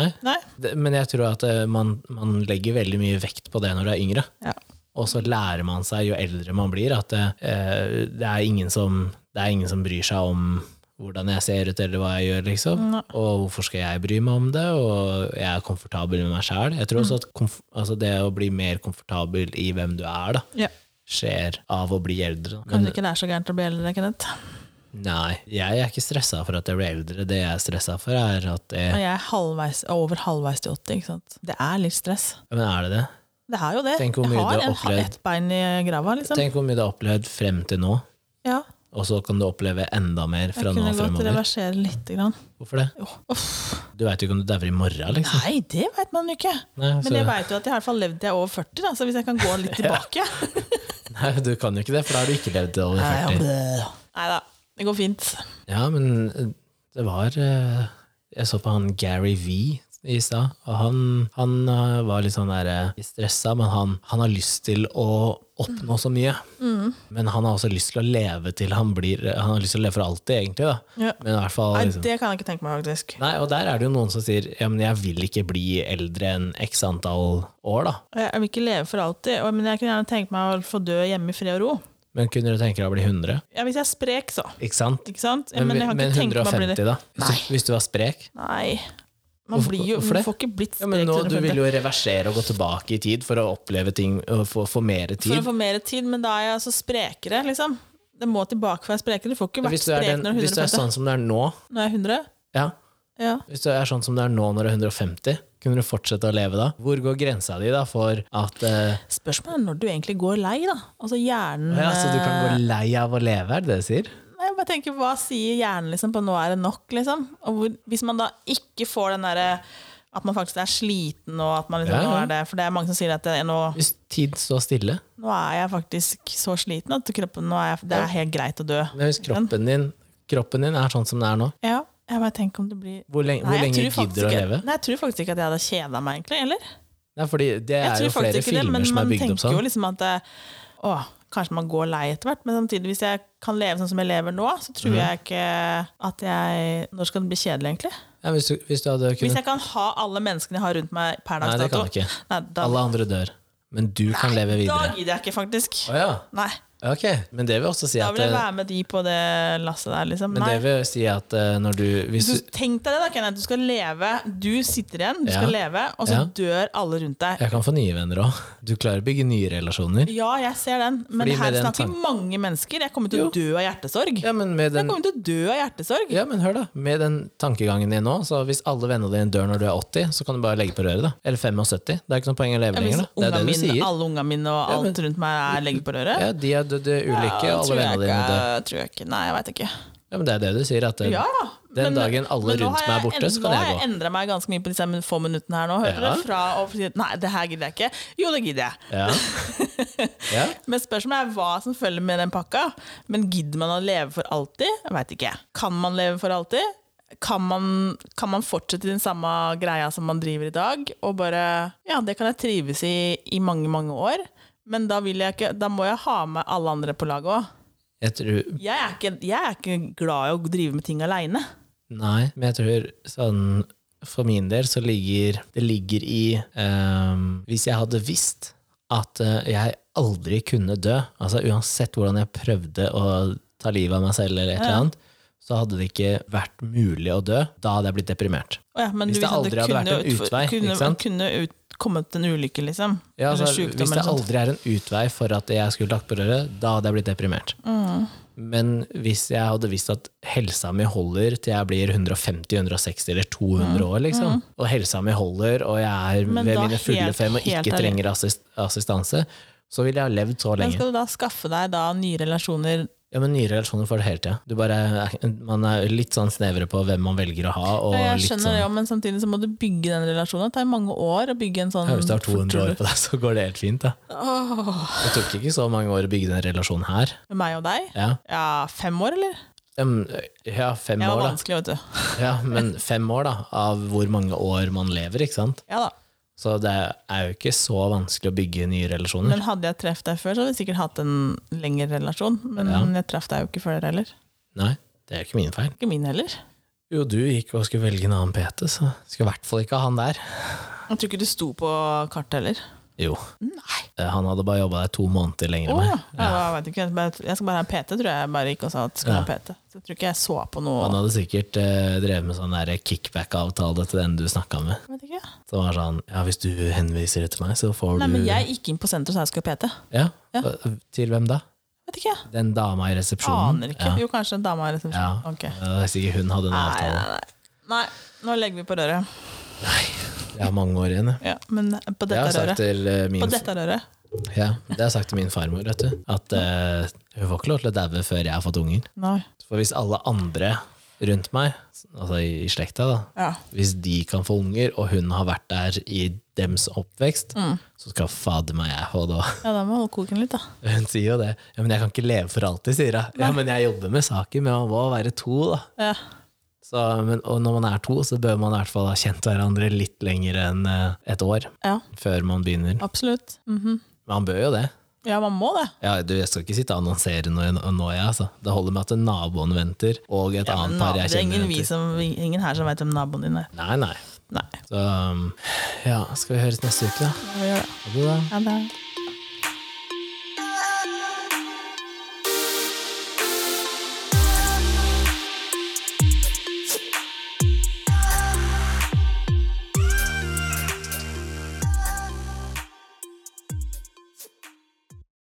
S1: Nei.
S2: Nei.
S1: Det, men jeg tror at eh, man, man legger veldig mye vekt på det når du er yngre.
S2: Ja.
S1: Og så lærer man seg jo eldre man blir, at det, eh, det, er, ingen som, det er ingen som bryr seg om hvordan jeg ser ut eller hva jeg gjør, liksom.
S2: Nei.
S1: Og hvorfor skal jeg bry meg om det? Og jeg er komfortabel med meg sjæl. Jeg tror også at komf altså det å bli mer komfortabel i hvem du er, da,
S2: Ja.
S1: skjer av å bli eldre. da. Men
S2: Kanskje ikke det er så gærent å bli eldre, Kenneth.
S1: nei, jeg er ikke stressa for at jeg blir eldre. Det jeg er stressa for, er at
S2: Og
S1: jeg,
S2: jeg er halvveis, over halvveis til 80, ikke sant. Det er litt stress.
S1: Men er det det?
S2: Det er jo det.
S1: Tenk hvor mye
S2: jeg
S1: du
S2: har
S1: har
S2: en- ha-
S1: opplevd.
S2: ett bein i grava, liksom.
S1: Tenk hvor mye du har opplevd frem til nå,
S2: Ja,
S1: og så kan du oppleve enda mer
S2: jeg
S1: fra nå
S2: kunne
S1: og
S2: godt
S1: fremover.
S2: reversere litt. Grann.
S1: Hvorfor det?
S2: Jo. Uff.
S1: Du veit jo ikke om du dauer i morgen, liksom.
S2: Nei, det veit man jo ikke.
S1: Nei,
S2: Men
S1: så,
S2: jeg veit jo at jeg har i hvert fall levd til jeg er over 40, da, så hvis jeg kan gå litt tilbake
S1: nei, du kan jo ikke det, for da har du ikke levd til over 40.
S2: Nei da, det går fint.
S1: Ja, men eh, det var eh, Jeg så på han Gary V i stad, og han, han eh, var litt sånn der eh, stressa, men han, han har lyst til å oppnå så mye.
S2: Mm.
S1: Men han har også lyst til å leve til han blir eh, Han har lyst til å leve for alltid, egentlig. da
S2: Ja.
S1: Men i hvert fall
S2: Nei,
S1: liksom,
S2: det kan jeg ikke tenke meg, faktisk.
S1: Nei, og der er det jo noen som sier ja, men jeg vil ikke bli eldre enn x antall år, da.
S2: Og Jeg jeg vil ikke leve for alltid, og- men jeg kunne gjerne tenke meg å få dø hjemme i fred og ro.
S1: Men kunne du tenke deg å bli 100?
S2: Ja, hvis jeg er sprek, så.
S1: Ikke sant?
S2: Ikke sant? Ja, men jeg kan
S1: men
S2: ikke tenke meg å bli
S1: 150,
S2: det.
S1: da? Hvis du, hvis du var sprek?
S2: Nei. Man
S1: Hvorfor-
S2: blir jo,
S1: hvorfor
S2: man
S1: det?
S2: får ikke blitt
S1: Ja,
S2: sprek.
S1: men nå, Du
S2: til
S1: vil
S2: 150.
S1: jo reversere og gå tilbake i tid for å oppleve ting og få, få mer
S2: For å
S1: tid.
S2: få mer tid, men da er jeg altså sprekere, liksom. Det må tilbake for jeg er sprekere. Du får ikke vært
S1: Hvis du, er
S2: sprek
S1: den,
S2: når du er
S1: hvis du er
S2: 150.
S1: sånn som du er nå
S2: Når jeg er 100?
S1: ja,
S2: Ja.
S1: Hvis du er sånn som du er nå når du er 150, kunne du fortsette å leve da? Hvor går grensa di da for at eh,
S2: Spørsmålet er når du egentlig går lei, da. Altså hjernen
S1: ja, Så du kan gå lei av å leve, er det det du sier?
S2: Nei, Jeg bare tenker, Hva sier hjernen liksom, på 'nå er det nok'? liksom? Og hvor, Hvis man da ikke får den derre at man faktisk er sliten og at man liksom,
S1: Ja, ja.
S2: nå er det, For det er mange som sier at det, nå,
S1: Hvis tid står stille?
S2: nå er jeg faktisk så sliten at kroppen, nå er jeg, det er helt greit å dø.
S1: Men hvis kroppen din, kroppen din er sånn som den er nå,
S2: Ja, jeg bare tenker om det blir
S1: hvor lenge, hvor
S2: jeg
S1: lenge
S2: tror faktisk
S1: gidder du å
S2: ikke-
S1: leve?
S2: Nei, jeg tror faktisk ikke at jeg hadde kjeda meg, egentlig. Eller?
S1: Nei, fordi det
S2: Jeg
S1: er
S2: tror
S1: jo flere
S2: faktisk ikke det,
S1: filmer
S2: men
S1: som er
S2: man
S1: bygd
S2: tenker
S1: opp sånn.
S2: jo liksom at eh, å, kanskje man går lei etter hvert, men samtidig, hvis jeg kan leve sånn som jeg lever nå, så
S1: Mhm.
S2: tror jeg ikke at jeg Når skal det bli kjedelig, egentlig?
S1: Nei, hvis, du, hvis du hadde
S2: Hvis
S1: kunnet
S2: jeg kan ha alle menneskene jeg har rundt meg per
S1: Nei,
S2: dags
S1: det
S2: dato
S1: kan du ikke.
S2: Nei, da,
S1: Alle andre dør. Men du kan leve
S2: da
S1: videre.
S2: gidder jeg ikke, faktisk.
S1: Å ja.
S2: Nei.
S1: Ok, men det vil også si
S2: Da
S1: at
S2: vil jeg
S1: eh,
S2: være med de på det lasset der, liksom.
S1: Men
S2: Nei.
S1: det vil si at eh, når du Hvis
S2: Så
S1: du
S2: tenk deg det, da, Kenneth. Du skal leve. Du sitter igjen, du
S1: Ja.
S2: skal leve, og så
S1: Ja.
S2: dør alle rundt deg.
S1: Jeg kan få nye venner òg. Du klarer å bygge nye relasjoner.
S2: Ja, jeg ser den, men
S1: Fordi med
S2: her
S1: den
S2: snakker
S1: tanken-
S2: vi mange mennesker. Jeg kommer til å dø av hjertesorg.
S1: Ja, men med
S2: Jeg
S1: den
S2: kommer til å dø av hjertesorg.
S1: ja, men hør da, med den tankegangen din nå, så hvis alle vennene dine dør når du er 80, så kan du bare legge på røret, da. Eller 75. Det er ikke noe poeng å leve
S2: Hvis
S1: lenger, da. Det er
S2: unga
S1: det du
S2: mine,
S1: sier.
S2: alle ungene mine og alt rundt meg er legger på røret.
S1: Ja, de er dødd i ulykke,
S2: Ja,
S1: og alle
S2: tror jeg
S1: vennene dine
S2: ikke-
S1: dør.
S2: Tror jeg ikke. Nei, jeg veit ikke.
S1: Ja, men det er det du sier, at eh,
S2: Ja,
S1: Den dagen alle
S2: men nå
S1: rundt
S2: har
S1: meg er
S2: jeg
S1: borte, så kan jeg
S2: end- Nå
S1: gå.
S2: har jeg endra meg ganske mye på disse min- få minuttene her nå. Hørte
S1: Ja.
S2: du? Fra å si nei, det her gidder jeg ikke. Jo, det gidder jeg.
S1: Ja. ja.
S2: Men spørsmålet er hva som følger med den pakka. Men gidder man å leve for alltid? Jeg veit ikke. Kan man leve for alltid? Kan man, kan man fortsette i den samme greia som man driver i dag? Og bare Ja, det kan jeg trives i i mange, mange år. Men da, vil jeg ikke, da må jeg ha med alle andre på laget òg.
S1: Jeg tror
S2: Jeg, er ikke- jeg er ikke glad i å drive med ting aleine.
S1: Nei, men jeg tror sånn For min del så ligger det ligger i ehm, Hvis jeg hadde visst at eh, jeg aldri kunne dø, altså uansett hvordan jeg prøvde å ta livet av meg selv eller et eller annet, så hadde det ikke vært mulig å dø. Da hadde jeg blitt deprimert.
S2: Å Ja, men
S1: Hvis
S2: du
S1: det
S2: visste at
S1: aldri hadde vært
S2: kunne
S1: en
S2: utfor-
S1: utvei,
S2: kunne,
S1: ikke sant?
S2: Kunne ut, kommet en ulykke, liksom.
S1: Ja, altså,
S2: eller sykdom,
S1: hvis det
S2: eller sånt.
S1: aldri er en utvei for at jeg skulle lagt på røret, da hadde jeg blitt deprimert.
S2: Mm.
S1: Men hvis jeg hadde visst at helsa mi holder til jeg blir 150-160 eller 200 år, liksom, og helsa mi holder, og jeg er
S2: Mm. Men
S1: ved
S2: da
S1: mine fulle
S2: helt-
S1: fem og
S2: helt
S1: ikke
S2: ærlig.
S1: trenger assist assistanse, så ville jeg ha levd så
S2: Men
S1: lenge.
S2: skal du da skaffe deg da nye relasjoner
S1: Ja, men Nye relasjoner får det hele tida. Du bare- Man er litt sånn snevre på hvem man velger å ha. Og
S2: Ja, jeg
S1: litt
S2: skjønner det,
S1: sånn,
S2: ja, men samtidig så må du bygge den relasjonen. Det tar mange år å bygge en sånn
S1: ja, hvis du har 200 år på deg, så går det helt fint. Da.
S2: Åh,
S1: Det tok ikke så mange år å bygge den relasjonen her.
S2: Med meg og deg?
S1: Ja,
S2: Ja, fem år, eller?
S1: Em, ja fem
S2: Jeg
S1: år,
S2: var
S1: da.
S2: vanskelig, vet du.
S1: Ja, men fem år da, av hvor mange år man lever, ikke sant?
S2: Ja da.
S1: Så det er jo ikke så vanskelig å bygge nye relasjoner.
S2: Men hadde jeg truffet deg før, så hadde vi sikkert hatt en lengre relasjon. Men jeg traff deg jo ikke før dere heller.
S1: Nei, det er jo ikke min feil.
S2: Ikke min heller.
S1: Jo, du gikk og skulle velge en annen PT, så skulle i hvert fall ikke ha han der.
S2: Jeg tror ikke du sto på kartet heller.
S1: Jo.
S3: Nei.
S1: Eh, Han hadde bare jobba der to måneder lenger enn
S2: Åh,
S1: meg.
S2: ja, da vet du ikke, jeg bare- jeg skal bare ha en PT, tror jeg jeg bare gikk og sa at jeg skulle ha PT. Så jeg tror ikke jeg så på noe.
S1: Han hadde sikkert eh, drevet med sånn der kickback-avtale til den du snakka med.
S2: Jeg vet ikke.
S1: Som var sånn Ja, hvis du henviser det til meg, så får
S2: Nei,
S1: du
S2: men jeg gikk inn på senteret og sa jeg skulle ha PT.
S1: ja.
S2: Ja.
S1: Til hvem da?
S2: Vet ikke, jeg
S1: Den dama i resepsjonen?
S2: aner ikke. Jo, kanskje en dame har resepsjon.
S1: Ja.
S2: Ok.
S1: Ja. Det er sikkert hun hadde en
S2: Nei,
S1: avtale.
S2: nei, nei. nei, nå legger vi på røret.
S1: Jeg har mange år igjen, jeg.
S2: Ja, men på
S1: Det har jeg
S2: dette
S1: sagt
S2: røret.
S1: til eh,
S2: På
S1: min,
S2: dette røret.
S1: ja, det har jeg sagt til min farmor, vet du. At eh, hun får ikke lov til å daue før jeg har fått unger.
S2: Nei.
S1: For hvis alle andre rundt meg, altså i, i slekta, da,
S2: Ja.
S1: hvis de kan få unger, og hun har vært der i dems oppvekst, så skal fader meg jeg få det òg.
S2: ja, da må jeg holde koken litt, da.
S1: Hun sier jo det. Ja, men jeg kan ikke leve for alltid, sier hun. Ja, men jeg jobber med saken, men man må være to, da.
S2: Ja.
S1: Så, men, og når man er to, så bør man i hvert fall ha kjent hverandre litt lenger enn eh, et år
S2: ja,
S1: før man begynner.
S2: absolutt. Mhm.
S1: Man bør jo det.
S2: Ja, man må det.
S1: Ja, du, jeg skal ikke sitte og annonsere noe nå, nå jeg, altså. Det holder med at naboen venter, og et
S2: Ja, men
S1: annet
S2: nabo-
S1: par
S2: det
S1: jeg
S2: er
S1: kjenner
S2: ingen, vi
S1: venter.
S2: som, ingen her som vet hvem naboen din er.
S1: Nei, nei.
S2: Nei,
S1: Så um, ja, skal vi høres neste uke, da?
S2: vi gjør det.
S1: Ha det, da.
S2: Ja, det er.